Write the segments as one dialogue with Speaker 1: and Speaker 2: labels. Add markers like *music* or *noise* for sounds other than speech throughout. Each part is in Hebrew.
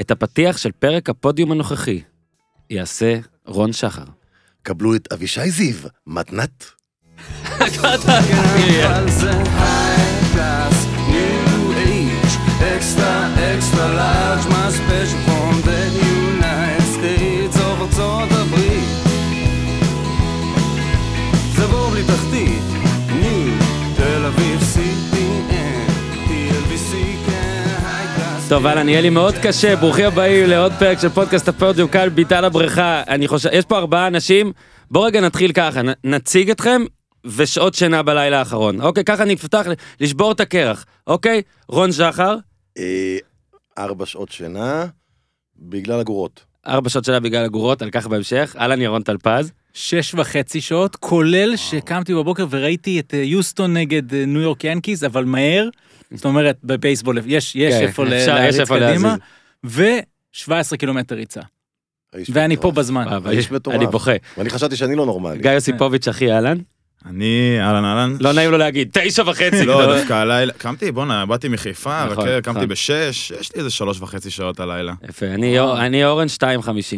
Speaker 1: את הפתיח של פרק הפודיום הנוכחי יעשה רון שחר.
Speaker 2: קבלו את אבישי זיו, מתנת.
Speaker 1: טוב, אהלן, יהיה לי מאוד קשה, ברוכים הבאים לעוד פרק של פודקאסט הפודיום כאן, ביטל הבריכה. אני חושב, יש פה ארבעה אנשים, בואו רגע נתחיל ככה, נ- נציג אתכם ושעות שינה בלילה האחרון. אוקיי, ככה נפתח, ל- לשבור את הקרח. אוקיי, רון שחר,
Speaker 2: אה, ארבע שעות שינה, בגלל אגורות.
Speaker 1: ארבע שעות שלה בגלל הגורות, על כך בהמשך. אהלן, ירון טלפז.
Speaker 3: שש וחצי שעות, כולל שקמתי בבוקר וראיתי את אה, יוסטון נגד אה, ניו יורק ינקיז, אבל מהר. זאת אומרת, בבייסבול יש, יש
Speaker 1: כן,
Speaker 3: איפה ל-
Speaker 1: אפשר, יש
Speaker 3: להריץ
Speaker 1: איפה
Speaker 3: קדימה, ו-17 קילומטר ריצה,
Speaker 2: האיש
Speaker 3: ואני פה
Speaker 2: מטורף.
Speaker 3: בזמן.
Speaker 1: אבל
Speaker 2: האיש מטורף.
Speaker 1: אני בוכה.
Speaker 2: ואני חשבתי שאני לא נורמלי.
Speaker 1: גיא יוסיפוביץ', אחי, אהלן.
Speaker 4: אני, אהלן אהלן.
Speaker 1: לא נעים לו להגיד, תשע וחצי.
Speaker 4: לא,
Speaker 1: כאילו.
Speaker 4: דווקא הלילה, קמתי, בואנה, באתי מחיפה,
Speaker 1: נכון,
Speaker 4: רכבת, קמתי
Speaker 1: נכון.
Speaker 4: בשש, יש לי איזה שלוש וחצי שעות הלילה.
Speaker 1: יפה, אני יו- אני אורן 2.50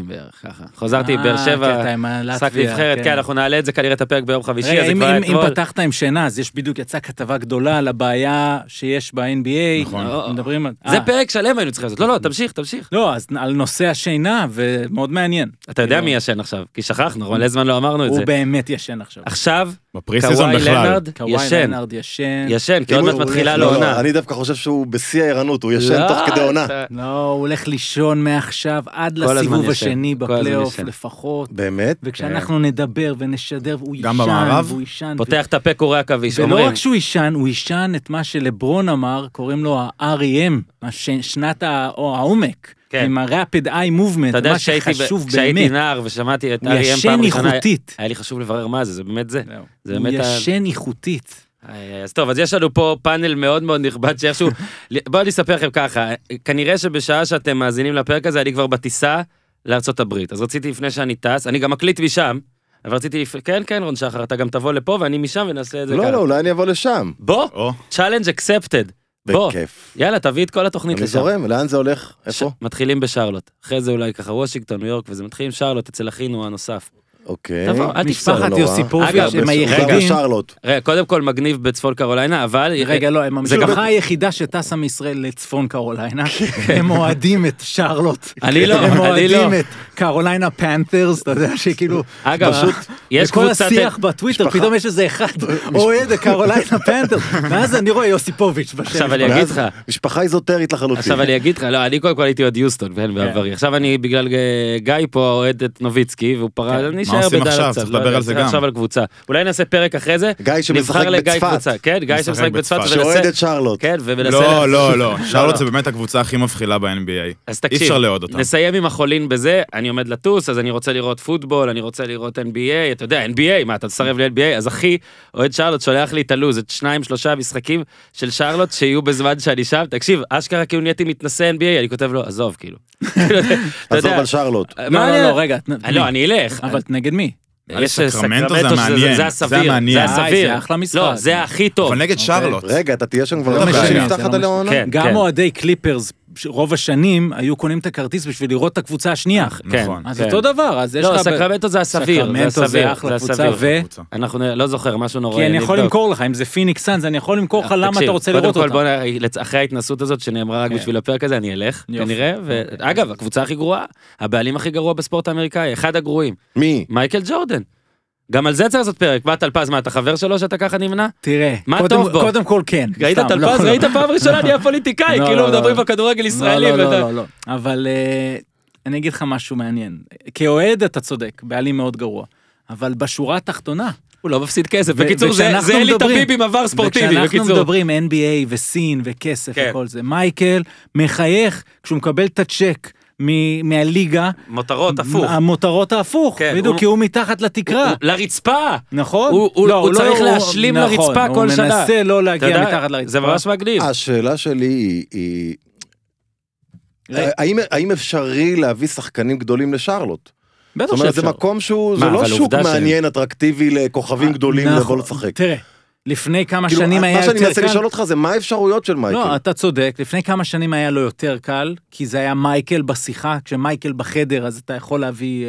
Speaker 1: בערך, ככה. חזרתי באר
Speaker 3: אה, קטע
Speaker 1: שבע,
Speaker 3: עם הלטביה,
Speaker 1: שק נבחרת, כן, אנחנו נעלה את זה כנראה את הפרק ביום חמישי,
Speaker 3: רגע,
Speaker 1: אז זה
Speaker 3: אם,
Speaker 1: כבר
Speaker 3: אם,
Speaker 1: היה
Speaker 3: אם
Speaker 1: אתמול.
Speaker 3: פתחת עם שינה, אז יש בדיוק, יצאה כתבה גדולה על הבעיה שיש ב-NBA.
Speaker 4: נכון.
Speaker 3: מדברים על...
Speaker 1: זה
Speaker 3: אה,
Speaker 1: פרק שלם היינו צריכים לעשות. לא, לא, תמשיך, תמשיך. כאילו-
Speaker 3: לא, אז על נושא השינה, ומאוד מעניין.
Speaker 1: אתה יודע
Speaker 3: לא.
Speaker 1: מי ישן עכשיו, כי שכחנו, אבל מלא זמן לא אמרנו את זה.
Speaker 3: הוא באמת ישן עכשיו.
Speaker 1: עכשיו,
Speaker 4: בפרי סיזון
Speaker 1: קוואי
Speaker 4: בכלל.
Speaker 1: לנארד
Speaker 3: קוואי
Speaker 1: ישן,
Speaker 3: לנארד ישן.
Speaker 1: ישן, כי
Speaker 2: אם
Speaker 1: עוד
Speaker 2: הוא-
Speaker 1: מעט
Speaker 2: הוא
Speaker 1: מתחילה
Speaker 2: הולך-
Speaker 1: לו
Speaker 2: לא, לא,
Speaker 1: עונה.
Speaker 2: אני דווקא חושב שהוא בשיא הערנות, הוא ישן
Speaker 1: לא,
Speaker 2: תוך כדי עונה.
Speaker 1: אתה-
Speaker 3: לא, הוא הולך לישון מעכשיו עד
Speaker 1: כל הזמן
Speaker 3: לסיבוב
Speaker 1: ישן,
Speaker 3: השני
Speaker 1: כל הזמן
Speaker 3: בפלייאוף
Speaker 1: ישן. כן.
Speaker 3: לפחות.
Speaker 2: באמת?
Speaker 3: וכשאנחנו נדבר ונשדר, הוא
Speaker 4: גם
Speaker 3: יישן,
Speaker 4: במערב?
Speaker 3: והוא יישן. ו-
Speaker 1: פותח את הפה קורע עכביש,
Speaker 3: ולא
Speaker 1: אומרים.
Speaker 3: רק שהוא יישן, הוא יישן את מה שלברון אמר, קוראים לו E ה-REM, הש- שנת ה- או העומק.
Speaker 1: כן.
Speaker 3: עם ה-Rapid Eye Movement,
Speaker 1: אתה יודע
Speaker 3: מה
Speaker 1: שהייתי
Speaker 3: שחשוב
Speaker 1: ב- כשהייתי
Speaker 3: באמת.
Speaker 1: נער ושמעתי את
Speaker 3: הוא
Speaker 1: אריאם
Speaker 3: ישן
Speaker 1: פעם ראשונה,
Speaker 3: איכותית.
Speaker 1: היה לי חשוב לברר מה זה, זה באמת זה. זה
Speaker 3: הוא
Speaker 1: באמת ה-
Speaker 3: ישן איכותית.
Speaker 1: איי, איי, אז טוב, אז יש לנו פה פאנל מאוד מאוד נכבד שאיכשהו, *laughs* בואו אני אספר לכם ככה, כנראה שבשעה שאתם מאזינים לפרק הזה, אני כבר בטיסה לארצות הברית. אז רציתי לפני שאני טס, אני גם מקליט משם, אבל רציתי, לפ- כן, כן, רון שחר, אתה גם תבוא לפה ואני משם ונעשה את זה
Speaker 2: לא,
Speaker 1: ככה.
Speaker 2: לא, אולי אני אבוא לשם.
Speaker 1: בוא,
Speaker 4: או,
Speaker 1: challenge accepted. בוא,
Speaker 2: בכיף.
Speaker 1: יאללה, תביא את כל התוכנית
Speaker 2: אני
Speaker 1: לשם.
Speaker 2: זורם, לאן זה הולך?
Speaker 1: ש-
Speaker 2: איפה?
Speaker 1: מתחילים בשרלוט, אחרי זה אולי ככה וושינגטון, ניו יורק, וזה מתחיל עם שרלוט אצל אחינו הנוסף.
Speaker 2: אוקיי.
Speaker 1: תבוא, אל תפסול.
Speaker 3: משפחת
Speaker 2: לא
Speaker 3: יוסיפוביץ',
Speaker 1: אגב,
Speaker 3: הם
Speaker 1: בסוף-
Speaker 2: רגע,
Speaker 3: היחידים.
Speaker 2: שרלוט.
Speaker 1: רגע, קודם כל מגניב בצפון קרוליינה, אבל...
Speaker 3: רגע, לא, הם
Speaker 1: זה גם- כן.
Speaker 3: המשפחה היחידה שטסה מישראל לצפון קרוליינה. הם אוהדים את שרלוט.
Speaker 1: אני לא,
Speaker 3: הם
Speaker 1: אני לא.
Speaker 3: אוהדים את קרוליינה פנתרס, אתה יודע שכאילו...
Speaker 1: אגב,
Speaker 3: ב-
Speaker 1: פשוט, יש
Speaker 3: בכל
Speaker 1: קבוצת...
Speaker 3: השיח בטוויטר, פתאום יש איזה אחד אוהד את קרוליינה פנתרס, ואז אני רואה יוסיפוביץ' בשם. לא,
Speaker 1: עכשיו אני
Speaker 2: ואז
Speaker 1: אגיד לך,
Speaker 2: משפחה איזוטרית לחלוטין.
Speaker 1: עכשיו אני אגיד לך, לא, אני קודם כל הייתי עוד יוסטון, כן, בעברי. עכשיו אני, בגלל אה, גיא פה, אוהד את נוביצקי, והוא פרש, אני אשאר
Speaker 4: כן. עושים
Speaker 1: בדל
Speaker 4: עכשיו?
Speaker 1: קצת,
Speaker 4: צריך
Speaker 1: לא
Speaker 4: לדבר
Speaker 1: יודע,
Speaker 4: על זה
Speaker 1: צריך
Speaker 4: גם.
Speaker 1: עכשיו על קבוצה. אולי נעשה פרק אחרי זה,
Speaker 2: גיא שמשחק
Speaker 1: נבחר לגיא
Speaker 2: בצפת.
Speaker 1: קבוצה. כן, גיא
Speaker 4: משחק
Speaker 1: שמשחק בצפת,
Speaker 4: בצפת.
Speaker 1: ונעשה-
Speaker 2: שאוהד את שרלוט.
Speaker 1: כן, ומנסה...
Speaker 4: לא,
Speaker 1: לה-
Speaker 4: לא, לא,
Speaker 1: לא.
Speaker 4: שרלוט זה באמת הקבוצה הכי מבחילה ב-NBA.
Speaker 1: אז
Speaker 4: אי
Speaker 1: תקשיב,
Speaker 4: אפשר לאהוד אותם.
Speaker 1: נסיים עם החולין בזה, אני עומד לטוס, אז אני רוצה לראות פוטבול, אני רוצה לראות NBA, אתה יודע, NBA, מה, אתה מסרב ל-NBA? אז אחי, אוהד שרלוט שולח לי את הלו"ז, את שניים, שלושה משחקים של שרלוט שיהיו בזמן שאני שם, תקשיב, אשכרה כאילו נהייתי מתנשא NBA, אני כותב לו, עזוב,
Speaker 3: *laughs*
Speaker 1: כאילו. אתה
Speaker 2: עזוב
Speaker 1: יודע,
Speaker 2: על שרלוט.
Speaker 1: מה
Speaker 3: לא,
Speaker 1: אני-
Speaker 3: לא, לא, רגע.
Speaker 1: אה, לא, אני אלך.
Speaker 3: אבל נגד מי?
Speaker 4: אבל
Speaker 1: יש סקרמנטו
Speaker 4: סקרמנטו
Speaker 1: שזה-
Speaker 4: זה המעניין,
Speaker 1: זה
Speaker 4: זה
Speaker 1: הסביר, זה
Speaker 4: המעניין.
Speaker 3: אה,
Speaker 1: הסביר.
Speaker 3: זה אחלה משחק.
Speaker 1: לא, זה הכי טוב.
Speaker 4: אבל
Speaker 3: אוקיי.
Speaker 4: נגד שרלוט.
Speaker 2: רגע, אתה תהיה שם כבר
Speaker 3: לא
Speaker 2: אחרי
Speaker 3: משנה, זה
Speaker 2: שנפתחת
Speaker 3: לא
Speaker 2: עליה העונה?
Speaker 1: כן, כן.
Speaker 3: גם אוהדי קליפרס, ש- רוב השנים, היו קונים את הכרטיס בשביל לראות את הקבוצה השנייה.
Speaker 1: כן.
Speaker 4: נכון.
Speaker 3: אז
Speaker 1: כן.
Speaker 3: אותו דבר, אז יש לך...
Speaker 1: לא,
Speaker 3: ב-
Speaker 1: סקרמנטו זה הסביר, זה
Speaker 3: סקרמנטו זה
Speaker 1: הסביר,
Speaker 3: אחלה
Speaker 1: זה
Speaker 3: קבוצה,
Speaker 1: הסביר.
Speaker 3: ו...
Speaker 4: קבוצה.
Speaker 1: אנחנו נ- לא זוכר, משהו נוראי.
Speaker 3: כי אני יכול
Speaker 1: אבדוק.
Speaker 3: למכור לך, אם זה פיניקס סאנז, אני יכול למכור לך למה אתה רוצה לראות
Speaker 1: קודם כל,
Speaker 3: אותה.
Speaker 1: בוא נ- לצ- אחרי ההתנסות הזאת שנאמרה רק
Speaker 3: כן.
Speaker 1: בשביל הפרק הזה, אני אלך,
Speaker 3: יופי. אוקיי.
Speaker 1: כנראה. ואגב, הקבוצה הכי גרועה, הבעלים הכי גרוע בספורט האמריקאי, אחד הגרועים,
Speaker 2: מי?
Speaker 1: מייקל ג'ורדן. גם על זה צריך לעשות פרק. מה טלפז, מה, אתה חבר שלו שאתה ככה נמנע?
Speaker 3: תראה,
Speaker 1: מה
Speaker 3: קודם-
Speaker 1: טוב בו?
Speaker 3: קודם כל כן.
Speaker 1: ראית
Speaker 3: סתם, לא,
Speaker 1: טלפז?
Speaker 3: לא.
Speaker 1: ראית פעם
Speaker 3: *laughs*
Speaker 1: ראשונה, נהיה פוליטיקאי,
Speaker 3: לא,
Speaker 1: כאילו
Speaker 3: לא, לא,
Speaker 1: מדברים
Speaker 3: לא.
Speaker 1: בכדורגל ישראלי.
Speaker 3: לא, לא,
Speaker 1: ואתה-
Speaker 3: לא, לא, לא. אבל אה, אני אגיד לך משהו מעניין. כאוהד אתה צודק, בעלים מאוד גרוע. אבל בשורה התחתונה,
Speaker 1: הוא לא מפסיד כסף.
Speaker 3: ו-
Speaker 1: בקיצור, זה
Speaker 3: וכשאנחנו
Speaker 1: זה אלי
Speaker 3: מדברים-
Speaker 1: טביב עם עבר ספורטיבי,
Speaker 3: וכשאנחנו
Speaker 1: בקיצור.
Speaker 3: מדברים NBA וסין וכסף
Speaker 1: כן.
Speaker 3: וכל זה, מייקל מחייך כשהוא מקבל את הצ'ק מ- מהליגה,
Speaker 1: מותרות, הפוך.
Speaker 3: המותרות ההפוך,
Speaker 1: כן,
Speaker 3: בדיוק,
Speaker 1: הוא-
Speaker 3: כי הוא מתחת לתקרה.
Speaker 1: הוא- לרצפה!
Speaker 3: נכון?
Speaker 1: הוא- הוא-
Speaker 3: לא,
Speaker 1: הוא
Speaker 3: לא-
Speaker 1: צריך
Speaker 3: הוא-
Speaker 1: להשלים
Speaker 3: נכון,
Speaker 1: לרצפה כל שנה.
Speaker 3: הוא מנסה לא
Speaker 1: אתה
Speaker 3: להגיע
Speaker 1: יודע,
Speaker 3: מתחת לרצפה. אה,
Speaker 1: זה ממש מגניב.
Speaker 2: השאלה שלי היא- היא...
Speaker 3: רגע.
Speaker 2: האם- האם אפשרי להביא שחקנים גדולים לשרלוט?
Speaker 3: בטח
Speaker 2: זאת אומרת, זה מקום שהוא, זה
Speaker 1: מה,
Speaker 2: לא
Speaker 1: אבל
Speaker 2: שוק
Speaker 1: עובדה ש-
Speaker 2: מעניין אטרקטיבי לכוכבים גדולים
Speaker 3: נכון.
Speaker 2: לבוא לשחק.
Speaker 3: תראה, לפני כמה
Speaker 2: כאילו,
Speaker 3: שנים היה
Speaker 2: מה
Speaker 3: יותר קל.
Speaker 2: שאני מנסה לשאול אותך כאילו. זה מה האפשרויות של מייקל.
Speaker 3: לא, אתה צודק, לפני כמה שנים היה לו יותר קל, כי זה היה מייקל בשיחה, כשמייקל בחדר אז אתה יכול להביא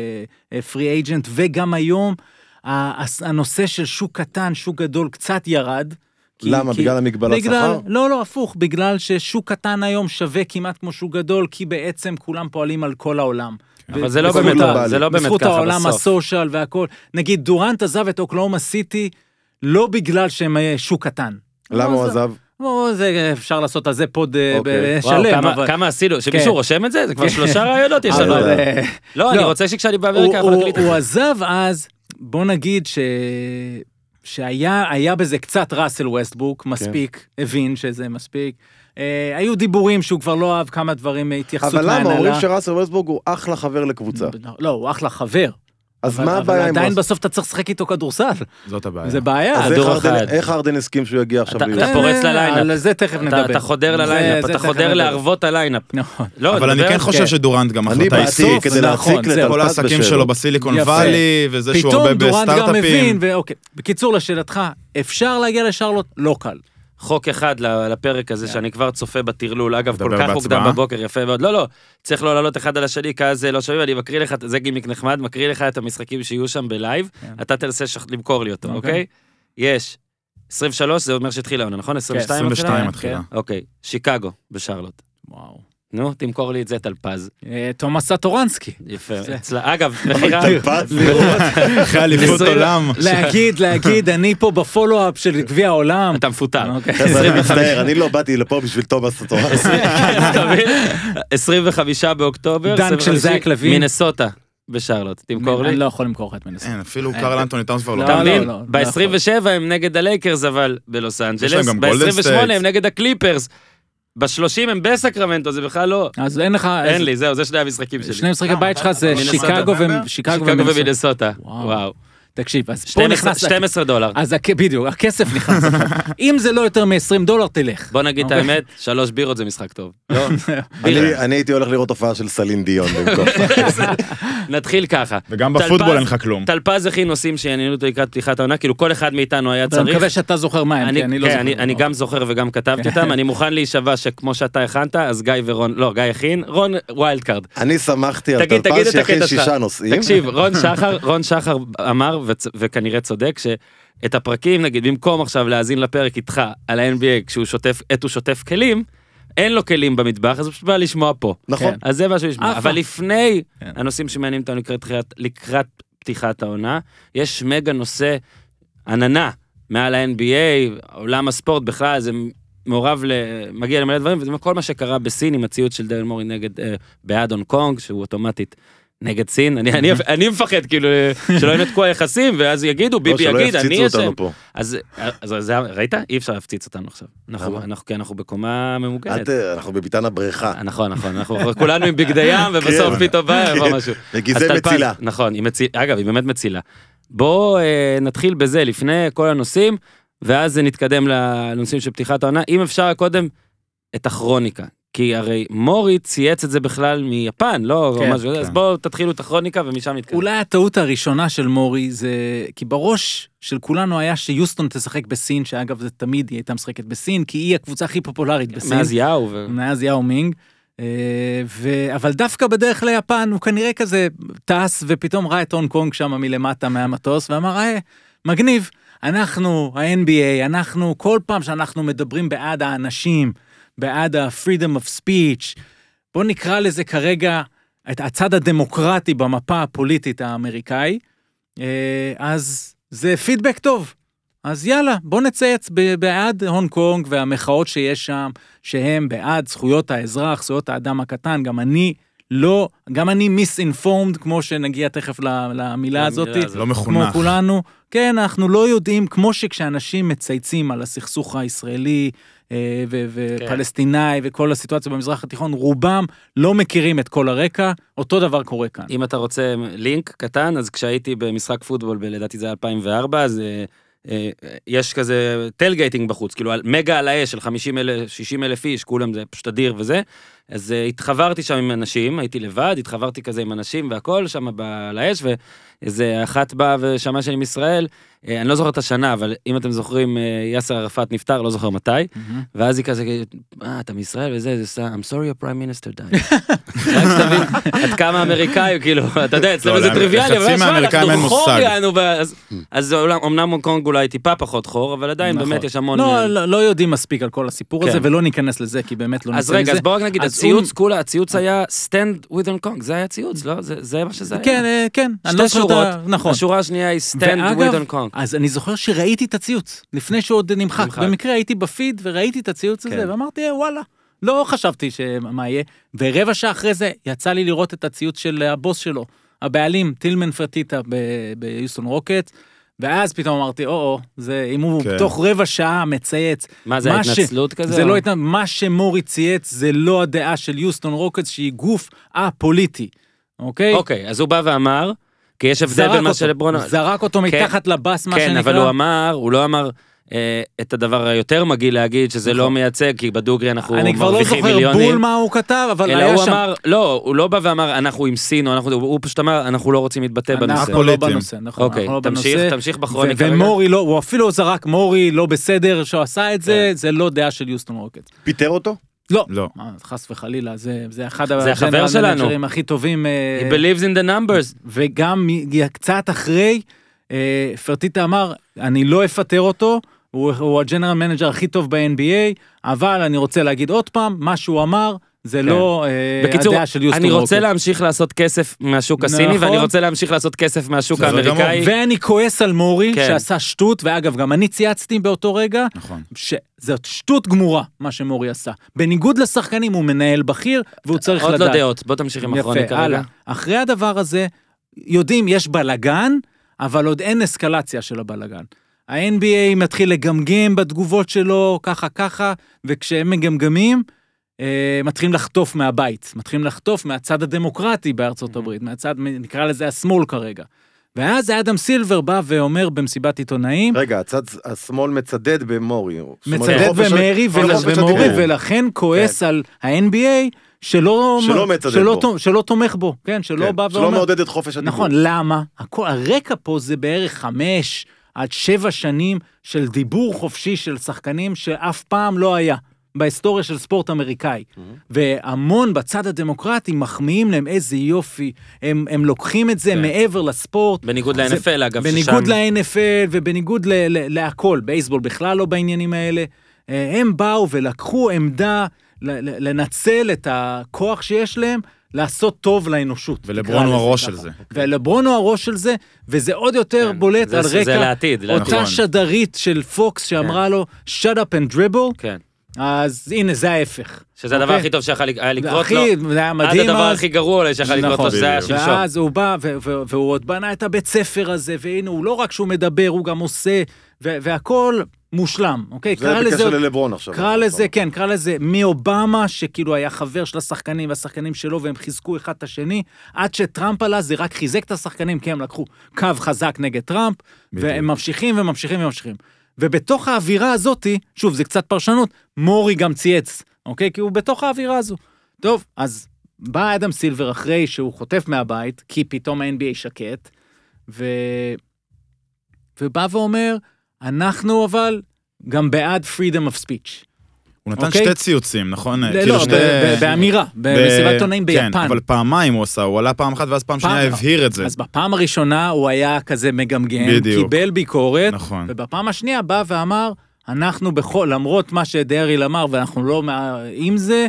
Speaker 3: אה, פרי אייג'נט, וגם היום ה- הס- הנושא של שוק קטן, שוק גדול, קצת ירד. כי-
Speaker 2: למה?
Speaker 3: כי-
Speaker 2: בגלל המגבלת
Speaker 3: בגלל-
Speaker 2: שכר?
Speaker 3: לא, לא, הפוך, בגלל ששוק קטן היום שווה כמעט כמו שוק גדול, כי בעצם כולם פועלים על כל העולם.
Speaker 1: אבל זה לא
Speaker 2: בזכות
Speaker 1: באמת,
Speaker 2: גלובלי.
Speaker 1: זה לא באמת
Speaker 3: בזכות
Speaker 1: ככה
Speaker 3: העולם
Speaker 1: בסוף.
Speaker 3: הסושיאל והכל. נגיד, דורנט עזב את אוקלאומה סיטי לא בגלל שהם אה, שוק קטן.
Speaker 2: למה
Speaker 3: לא,
Speaker 2: הוא
Speaker 3: זה-
Speaker 2: עזב?
Speaker 3: או, זה אפשר לעשות על זה פוד אה,
Speaker 2: אוקיי.
Speaker 3: ב-
Speaker 1: וואו,
Speaker 3: שלם,
Speaker 1: כמה-
Speaker 3: אבל...
Speaker 1: כמה עשינו, שמישהו
Speaker 3: כן.
Speaker 1: רושם את זה? זה כבר
Speaker 3: כן.
Speaker 1: שלושה רעיונות יש
Speaker 2: אבל,
Speaker 1: לנו.
Speaker 2: אה, *laughs*
Speaker 1: לא, אני
Speaker 3: לא.
Speaker 1: רוצה שכשאני
Speaker 3: הוא-
Speaker 1: באמריקה
Speaker 3: הוא-
Speaker 1: אנחנו נקליט.
Speaker 3: הוא עזב אז, בוא נגיד ש... שהיה היה בזה קצת ראסל ווסטבורק,
Speaker 1: כן.
Speaker 3: מספיק, הבין שזה מספיק. אה, היו דיבורים שהוא כבר לא אהב כמה דברים, התייחסות
Speaker 2: אבל
Speaker 3: מהנהלה.
Speaker 2: למה? אומרים שראסל ווסטבורג הוא אחלה חבר לקבוצה.
Speaker 3: לא, הוא אחלה חבר.
Speaker 2: אז
Speaker 3: אבל-
Speaker 2: מה הבעיה
Speaker 3: אבל
Speaker 2: עם
Speaker 3: עדיין
Speaker 2: ראסל?
Speaker 3: בסוף אתה צריך לשחק איתו כדורסל.
Speaker 4: זאת הבעיה.
Speaker 3: זה בעיה.
Speaker 2: אז איך
Speaker 1: הדור
Speaker 2: הרדן-
Speaker 1: אחד.
Speaker 2: איך הרדן הסכים שהוא יגיע עכשיו
Speaker 1: אתה-
Speaker 2: ליוס?
Speaker 1: אתה פורץ לליינאפ.
Speaker 3: לא- על זה תכף
Speaker 1: אתה-
Speaker 3: נדבר.
Speaker 1: אתה חודר
Speaker 3: זה-
Speaker 1: לליינאפ,
Speaker 3: זה
Speaker 1: אתה
Speaker 3: תכף
Speaker 1: חודר
Speaker 3: נדבר.
Speaker 1: לערבות הליינאפ.
Speaker 3: נכון.
Speaker 1: לא,
Speaker 4: אבל אני
Speaker 1: נדבר
Speaker 4: כן
Speaker 1: על-
Speaker 4: חושב שדורנט גם
Speaker 2: אני
Speaker 4: החלטה
Speaker 2: באתי
Speaker 4: איסוף,
Speaker 2: כדי
Speaker 3: נכון,
Speaker 2: להציק
Speaker 3: זהו.
Speaker 4: כל
Speaker 2: לדלפק
Speaker 4: העסקים
Speaker 2: בשלו.
Speaker 4: שלו בסיליקון
Speaker 3: יפה.
Speaker 4: וואלי, וזה שהוא הרבה
Speaker 3: פתאום דורנט גם מבין,
Speaker 4: בסטארט-אפים.
Speaker 3: ואוקיי. בקיצור, לשאלתך, אפשר להגיע לשרלוט? לא קל.
Speaker 1: חוק אחד ל- לפרק הזה, שאני כבר צופה בטרלול, אגב, כל
Speaker 4: נדבר
Speaker 1: כך
Speaker 4: בהצבעה?
Speaker 1: מוקדם בבוקר, יפה מאוד. לא, לא, צריך לא לעלות אחד על השני, כי אז אה, לא שומעים, אני מקריא לך, זה גימיק נחמד, מקריא לך את המשחקים שיהיו שם בלייב, אתה תנסה שח- למכור לי אותו,
Speaker 3: אוקיי.
Speaker 1: אוקיי? יש. 23, זה אומר שהתחילה העונה, נכון? 22 מתחילה?
Speaker 4: 22
Speaker 3: כן.
Speaker 4: מתחילה.
Speaker 1: אוקיי, שיקגו בשרלוט.
Speaker 3: וואו.
Speaker 1: נו, תמכור לי את זה, טלפז.
Speaker 3: אה, תומאס
Speaker 1: *laughs*
Speaker 3: סטורנסקי.
Speaker 1: יפה.
Speaker 3: זה-
Speaker 1: אצלה-
Speaker 3: *laughs*
Speaker 1: אגב, מכירה...
Speaker 4: אחרי אליפות
Speaker 1: עשרים-
Speaker 4: עולם.
Speaker 3: להגיד, להגיד, אני פה בפולו-אפ של גביע העולם.
Speaker 1: אה, אתה מפוטר.
Speaker 3: אוקיי.
Speaker 2: חבר'ה,
Speaker 1: *laughs*
Speaker 2: אני מצטער, אני לא באתי לפה בשביל תומאס הטורס.
Speaker 1: אתה מבין? 25 באוקטובר,
Speaker 3: אה. דנק של
Speaker 1: 25,
Speaker 3: זאק לוין.
Speaker 1: מנסוטה בשרלוט, תמכור לי.
Speaker 3: אני לא יכול למכור לך את מנסה.
Speaker 4: אין, אפילו
Speaker 3: אין.
Speaker 4: קרל אנטוני טאונס כבר לא.
Speaker 3: לא,
Speaker 1: אתה מבין?
Speaker 3: לא, לא
Speaker 1: ב-27 הם נגד הלייקרס אבל בלוס
Speaker 4: להם
Speaker 1: אנג'לס,
Speaker 4: גם גולדן
Speaker 1: ב-28
Speaker 4: סטייט.
Speaker 1: הם נגד הקליפרס, ב-30 הם בסקרמנטו, זה בכלל לא...
Speaker 3: אז אין לך...
Speaker 1: אין
Speaker 3: אה, אז
Speaker 1: לי, זהו, זה שני המשחקים שלי.
Speaker 3: שני
Speaker 4: אה,
Speaker 3: משחקי בית שלך זה
Speaker 1: אבל
Speaker 3: שיקגו
Speaker 4: מנסוטה.
Speaker 3: ו- שיקגו
Speaker 1: שיקגו
Speaker 3: ומנסוטה.
Speaker 1: ומינסוטה,
Speaker 3: וואו.
Speaker 1: וואו.
Speaker 3: תקשיב, אז פה
Speaker 1: 12
Speaker 3: נכנס... אה,
Speaker 1: 12 דולר.
Speaker 3: אז הכ- בדיוק, הכסף
Speaker 1: *laughs*
Speaker 3: נכנס. לך. אם זה לא יותר מ-20 דולר, תלך.
Speaker 1: בוא נגיד את
Speaker 3: אוקיי.
Speaker 1: האמת, שלוש בירות זה משחק טוב. *laughs* לא?
Speaker 2: אני- אני הייתי הולך לראות הופעה של סלין דיון במקום.
Speaker 1: *laughs* נתחיל ככה.
Speaker 4: וגם
Speaker 1: טלפז-
Speaker 4: בפוטבול אין לך כלום.
Speaker 1: טלפז הכין נושאים שעניינו אותו לקראת פתיחת העונה, כאילו כל אחד מאיתנו היה
Speaker 3: אני
Speaker 1: צריך.
Speaker 3: מקווה שאתה זוכר מה הם, כי אני לא
Speaker 1: כן,
Speaker 3: זוכר.
Speaker 1: אני, אני גם זוכר וגם כתבתי אותם, אני מוכן להישבע שכמו שאתה הכנת, אז גיא ורון, לא, גיא הכין, רון ויילד קארד.
Speaker 2: אני שמחתי על
Speaker 1: תגיד, תגיד
Speaker 2: טלפז
Speaker 1: את
Speaker 2: שיכין
Speaker 1: הקטע
Speaker 2: שישה
Speaker 1: שלך.
Speaker 2: נושאים.
Speaker 1: תקשיב, רון שחר, רון שחר אמר, וצ- וכנראה צודק, שאת הפרקים, נגיד, במקום עכשיו להאזין לפרק איתך על ה-NBA, כשהוא שוטף, עת הוא שוטף כלים, אין לו כלים במטבח, אז הוא פשוט בא לשמוע פה.
Speaker 2: נכון.
Speaker 1: אז זה מה שהוא ישמע.
Speaker 3: אחלה.
Speaker 1: אבל לפני
Speaker 3: כן.
Speaker 1: הנושאים שמעניינים אותנו לקראת, תחילת- לקראת פתיחת העונה, יש מגה נושא עננה מעל ה-NBA, עולם הספורט בכלל, זה מעורב, ל... מגיע למלא דברים, וזה כל מה שקרה בסין עם הציוד של דרן מורי נגד, אה, בעד הונג קונג, שהוא אוטומטית. נגד סין, אני,
Speaker 2: *laughs*
Speaker 1: אני, אני מפחד כאילו שלא ינתקו היחסים ואז יגידו,
Speaker 2: לא,
Speaker 1: ביבי
Speaker 2: שלא
Speaker 1: יגיד, אני
Speaker 2: יפציצו
Speaker 1: אשם.
Speaker 2: אותנו פה.
Speaker 1: אז, אז, אז זה- ראית? אי אפשר להפציץ אותנו עכשיו. אנחנו,
Speaker 2: למה?
Speaker 1: אנחנו, כי אנחנו בקומה
Speaker 2: אל
Speaker 1: ממוגנת.
Speaker 2: ת- אנחנו בביתן הבריכה.
Speaker 1: כן. אה, נכון, נכון, אנחנו כולנו עם בגדי ים, ובסוף
Speaker 2: כן.
Speaker 1: פתאום בא
Speaker 2: כן.
Speaker 1: יבוא משהו.
Speaker 2: כי
Speaker 1: אז
Speaker 2: *laughs* זה
Speaker 1: טלפז,
Speaker 2: מצילה.
Speaker 1: נכון, היא מצילה, אגב, היא באמת מצילה. בואו אה, נתחיל בזה לפני כל הנושאים, ואז נתקדם לנושאים של פתיחת העונה. אם אפשר קודם, את הכרוניקה. כי הרי מורי צייץ את זה בכלל מיפן, לא?
Speaker 3: כן,
Speaker 1: או משהו, כזה, אז
Speaker 4: כן.
Speaker 1: בואו תתחילו את הכרוניקה ומשם נתקדם.
Speaker 3: אוקיי. אולי הטעות הראשונה של מורי זה... כי בראש של כולנו היה שיוסטון תשחק בסין, שאגב זה תמיד היא הייתה משחקת בסין, כי היא הקבוצה הכי פופולרית בסין.
Speaker 1: מאז יאו. ו-
Speaker 3: מאז יאו מינג. אה, ו... אבל דווקא בדרך ליפן הוא כנראה כזה טס ופתאום ראה את הונג קונג שם מלמטה מהמטוס ואמר, אה, מגניב, אנחנו ה-NBA, אנחנו כל פעם שאנחנו מדברים בעד האנשים, בעד ה-freedom of speech, בוא נקרא לזה כרגע את הצד הדמוקרטי במפה הפוליטית האמריקאי, אה, אז זה פידבק טוב. אז יאללה, בוא נצייץ ב- בעד הונג קונג והמחאות שיש שם, שהם בעד זכויות האזרח, זכויות האדם הקטן, גם אני לא, גם אני מיסאינפורמד, כמו שנגיע תכף ל- למילה הזאת.
Speaker 1: הזאת.
Speaker 4: לא
Speaker 3: כמו
Speaker 4: מחונך.
Speaker 3: כולנו, כן, אנחנו לא יודעים, כמו שכשאנשים מצייצים על הסכסוך הישראלי אה, ו-
Speaker 1: כן.
Speaker 3: ופלסטיני וכל הסיטואציה במזרח התיכון, רובם לא מכירים את כל הרקע, אותו דבר קורה כאן.
Speaker 1: אם אתה רוצה לינק קטן, אז כשהייתי במשחק פוטבול, ב- לדעתי זה היה 2004, אז אה, אה, יש כזה טלגייטינג בחוץ, כאילו על- מגה על האש של 50 אלף, 60 אלף איש, כולם זה פשוט אדיר וזה, אז אה, התחברתי שם עם אנשים, הייתי לבד, התחברתי כזה עם אנשים והכל שם ב- על האש, ואיזה אחת באה ושמעה שאני מישראל, אה, אני לא זוכר את השנה, אבל אם אתם זוכרים, אה, יאסר ערפאת נפטר, לא זוכר מתי, ואז היא כזה, אה, אתה מישראל וזה, זה עושה, I'm sorry your prime minister died. רק שתבין, עד כמה אמריקאי, הוא כאילו, אתה יודע, אצלנו
Speaker 4: לא,
Speaker 1: זה
Speaker 4: לאמ-
Speaker 1: טריוויאלי,
Speaker 4: לחצי
Speaker 1: אבל שמע,
Speaker 4: מהאמריקאים אין
Speaker 1: אנחנו חור
Speaker 4: מושג. Mm.
Speaker 1: יענו, ואז- אז אומנם- אומנם הונג קונג אולי טיפה פחות חור, אבל עדיין
Speaker 3: נכון.
Speaker 1: באמת יש המון... אה,
Speaker 3: לא, לא, לא יודעים מספיק על כל הסיפור
Speaker 1: כן.
Speaker 3: הזה, ולא ניכנס לזה, כי באמת לא ניכנס
Speaker 1: אז
Speaker 3: לזה.
Speaker 1: רגע, אז בוא רק נגיד,
Speaker 3: אז
Speaker 1: הציוץ,
Speaker 3: הוא-
Speaker 1: כולה, הציוץ היה stand with Hong Kong, זה היה ציוץ, לא? זה- זה מה שזה היה.
Speaker 3: כן, אה, כן. אני לא
Speaker 1: שתי
Speaker 3: זוכר את
Speaker 1: שורות,
Speaker 3: ה- נכון.
Speaker 1: השורה השנייה היא stand with Hong Kong.
Speaker 3: אז אני זוכר שראיתי את הציוץ, לפני שהוא עוד נמחק.
Speaker 1: נמחק.
Speaker 3: במקרה הייתי בפיד וראיתי את הציוץ
Speaker 1: כן.
Speaker 3: הזה, ואמרתי, "אה, וואלה. לא חשבתי שמה יהיה, ורבע שעה אחרי זה יצא לי לראות את הציוץ של הבוס שלו, הבעלים, טילמן פרטיטה ב- ביוסטון רוקט, ואז פתאום אמרתי, או-או, זה אם הוא
Speaker 4: כן.
Speaker 3: תוך רבע שעה מצייץ,
Speaker 1: מה זה,
Speaker 3: מה ש-
Speaker 1: התנצלות כזה?
Speaker 3: זה
Speaker 1: או-
Speaker 3: לא הייתה, מה שמורי צייץ זה לא הדעה של יוסטון רוקטס, שהיא גוף א-פוליטי, אוקיי?
Speaker 1: אוקיי, אז הוא בא ואמר, כי יש הבדל בין מה שלברון... אמר.
Speaker 3: זרק אותו מתחת לבס, מה שנקרא.
Speaker 1: כן, אבל הוא אמר, הוא לא אמר אה, את הדבר היותר מגעיל להגיד, שזה לא
Speaker 3: נכון.
Speaker 1: מייצג, כי בדוגרי אנחנו
Speaker 3: אני כבר לא
Speaker 1: מרוויחים
Speaker 3: זוכר בול
Speaker 1: מיליונים.
Speaker 3: מה הוא כתב, אבל
Speaker 1: אלא
Speaker 3: היה
Speaker 1: הוא
Speaker 3: שם.
Speaker 1: אמר, לא, הוא לא בא ואמר, אנחנו עם סין, או אנחנו, הוא פשוט אמר, אנחנו לא רוצים להתבטא בנושא.
Speaker 3: אנחנו לא
Speaker 4: פוליטיים.
Speaker 3: בנושא, נכון,
Speaker 1: אוקיי,
Speaker 3: אנחנו לא
Speaker 1: תמשיך,
Speaker 3: בנושא.
Speaker 1: תמשיך
Speaker 3: ו-
Speaker 1: בכרוניקה. רגע.
Speaker 3: ומורי לא, הוא אפילו זרק מורי לא בסדר שהוא עשה את זה,
Speaker 1: כן.
Speaker 3: זה לא דעה של יוסטון רוקט.
Speaker 2: פיטר אותו?
Speaker 3: לא.
Speaker 4: לא.
Speaker 3: אה, חס וחלילה, זה זה אחד
Speaker 1: זה החבר
Speaker 3: הג'נרל
Speaker 1: שלנו.
Speaker 3: מנג'רים הכי טובים. אה,
Speaker 1: He believes in the numbers.
Speaker 3: וגם מ- קצת אחרי, אה, פרטיטה אמר, אני לא אפטר אותו, הוא, הוא הג'נרל מנג'ר הכי טוב ב-NBA, אבל אני רוצה להגיד עוד פעם, מה שהוא אמר, זה
Speaker 1: כן.
Speaker 3: לא אה,
Speaker 1: בקיצור,
Speaker 3: הדעה של יוסטון
Speaker 1: אני רוצה
Speaker 3: רוקט.
Speaker 1: להמשיך לעשות כסף מהשוק הסיני,
Speaker 3: נכון.
Speaker 1: ואני רוצה להמשיך לעשות כסף מהשוק
Speaker 4: בסדר גמור.
Speaker 1: האמריקאי.
Speaker 3: ואני כועס על מורי
Speaker 1: כן.
Speaker 3: שעשה שטות, ואגב, גם אני צייצתי באותו רגע,
Speaker 4: נכון.
Speaker 3: שזאת שטות גמורה, מה שמורי עשה. בניגוד לשחקנים, הוא מנהל בכיר, והוא צריך
Speaker 1: עוד
Speaker 3: לדעת.
Speaker 1: לא דעות, בוא תמשיך עם הכרוניקה רגע.
Speaker 3: אחרי הדבר הזה, יודעים, יש בלגן, אבל עוד אין אסקלציה של הבלגן. ה-NBA מתחיל לגמגם בתגובות שלו, ככה ככה, וכשהם מגמגמים, אה, מתחילים לחטוף מהבית, מתחילים לחטוף מהצד הדמוקרטי בארצות הברית, מהצד, נקרא לזה השמאל כרגע. ואז אדם סילבר בא ואומר במסיבת עיתונאים,
Speaker 2: רגע, הצד השמאל מצדד במורי.
Speaker 3: מצדד במרי
Speaker 2: אבל
Speaker 3: ול-
Speaker 2: חופש
Speaker 3: ומורי,
Speaker 2: הדיבור. כן.
Speaker 3: ולכן כועס על ה-NBA שלא
Speaker 2: שלא מצדד
Speaker 3: שלא
Speaker 2: בו.
Speaker 3: תו- שלא תומך בו, כן, שלא
Speaker 2: כן,
Speaker 3: בא
Speaker 2: שלא
Speaker 3: ואומר,
Speaker 2: מעודד את חופש הדיבור.
Speaker 3: נכון, למה? הכל, הרקע פה זה בערך חמש עד שבע שנים של דיבור חופשי של שחקנים שאף פעם לא היה בהיסטוריה של ספורט אמריקאי.
Speaker 1: Mhm.
Speaker 3: והמון בצד הדמוקרטי מחמיאים להם, איזה יופי, הם, הם לוקחים את זה
Speaker 1: כן.
Speaker 3: מעבר לספורט.
Speaker 1: בניגוד
Speaker 3: זה-
Speaker 1: ל-NFL אגב,
Speaker 3: בניגוד ל-NFL ובניגוד ל- ל- להכל, בייסבול בכלל לא בעניינים האלה. אה, הם באו ולקחו עמדה ל- ל- לנצל את הכוח שיש להם, לעשות טוב לאנושות.
Speaker 4: ולברון הוא
Speaker 3: נקרא לזה
Speaker 4: הראש
Speaker 3: ככה. אוקיי.
Speaker 4: של זה.
Speaker 3: ולברון הוא הראש של זה, וזה עוד יותר
Speaker 1: כן,
Speaker 3: בולט
Speaker 1: זה-
Speaker 3: על
Speaker 1: זה
Speaker 3: רקע
Speaker 1: לעתיד, לעתיד.
Speaker 3: אותה
Speaker 4: נכון.
Speaker 3: שדרית של פוקס שאמרה לו, shut up and dribble,
Speaker 1: כן.
Speaker 3: אז הנה זה ההפך.
Speaker 1: שזה הדבר
Speaker 3: אוקיי?
Speaker 1: הכי טוב שיכול היה לקרות לו.
Speaker 3: הכי- זה היה
Speaker 1: עד
Speaker 3: מדהים
Speaker 1: הדבר
Speaker 3: אז.
Speaker 1: הכי גרוע אולי שיכול לקרות לו,
Speaker 3: נכון.
Speaker 1: זה היה
Speaker 4: בדיוק.
Speaker 1: שלשום.
Speaker 3: ואז הוא בא, ו- ו- והוא עוד בנה את הבית ספר הזה, והנה, הוא לא רק שהוא מדבר, הוא גם עושה, ו- והכל מושלם, אוקיי?
Speaker 2: זה
Speaker 3: קרא לזה...
Speaker 2: בקשר נכון. ללברון עכשיו.
Speaker 3: קרא לזה, כן, קרא לזה מאובמה, שכאילו היה חבר של השחקנים והשחקנים שלו, והם חיזקו אחד את השני, עד שטראמפ עלה, זה רק חיזק את השחקנים, כי הם לקחו קו חזק נגד טראמפ,
Speaker 4: בדיוק.
Speaker 3: והם ממשיכים וממשיכים וממשיכים. ובתוך האווירה הזאתי, שוב, זה קצת פרשנות, מורי גם צייץ, אוקיי? כי הוא בתוך האווירה הזו. טוב, אז בא אדם סילבר אחרי שהוא חוטף מהבית, כי פתאום ה-NBA שקט, ו... ובא ואומר, אנחנו אבל גם בעד freedom of speech.
Speaker 4: הוא נתן
Speaker 3: אוקיי.
Speaker 4: שתי ציוצים, נכון?
Speaker 3: לא,
Speaker 4: כאילו
Speaker 3: לא,
Speaker 4: שתי-
Speaker 3: ב- ב- באמירה,
Speaker 4: ב-
Speaker 3: במסיבת עיתונאים
Speaker 4: כן,
Speaker 3: ביפן.
Speaker 4: אבל פעמיים הוא עשה, הוא עלה פעם אחת ואז פעם שנייה
Speaker 3: פעם-
Speaker 4: הבהיר את זה.
Speaker 3: אז בפעם הראשונה הוא היה כזה מגמגם,
Speaker 4: בדיוק.
Speaker 3: קיבל ביקורת,
Speaker 4: נכון.
Speaker 3: ובפעם השנייה בא ואמר, אנחנו בכל, למרות מה שדרעיל אמר, ואנחנו לא מה- עם זה,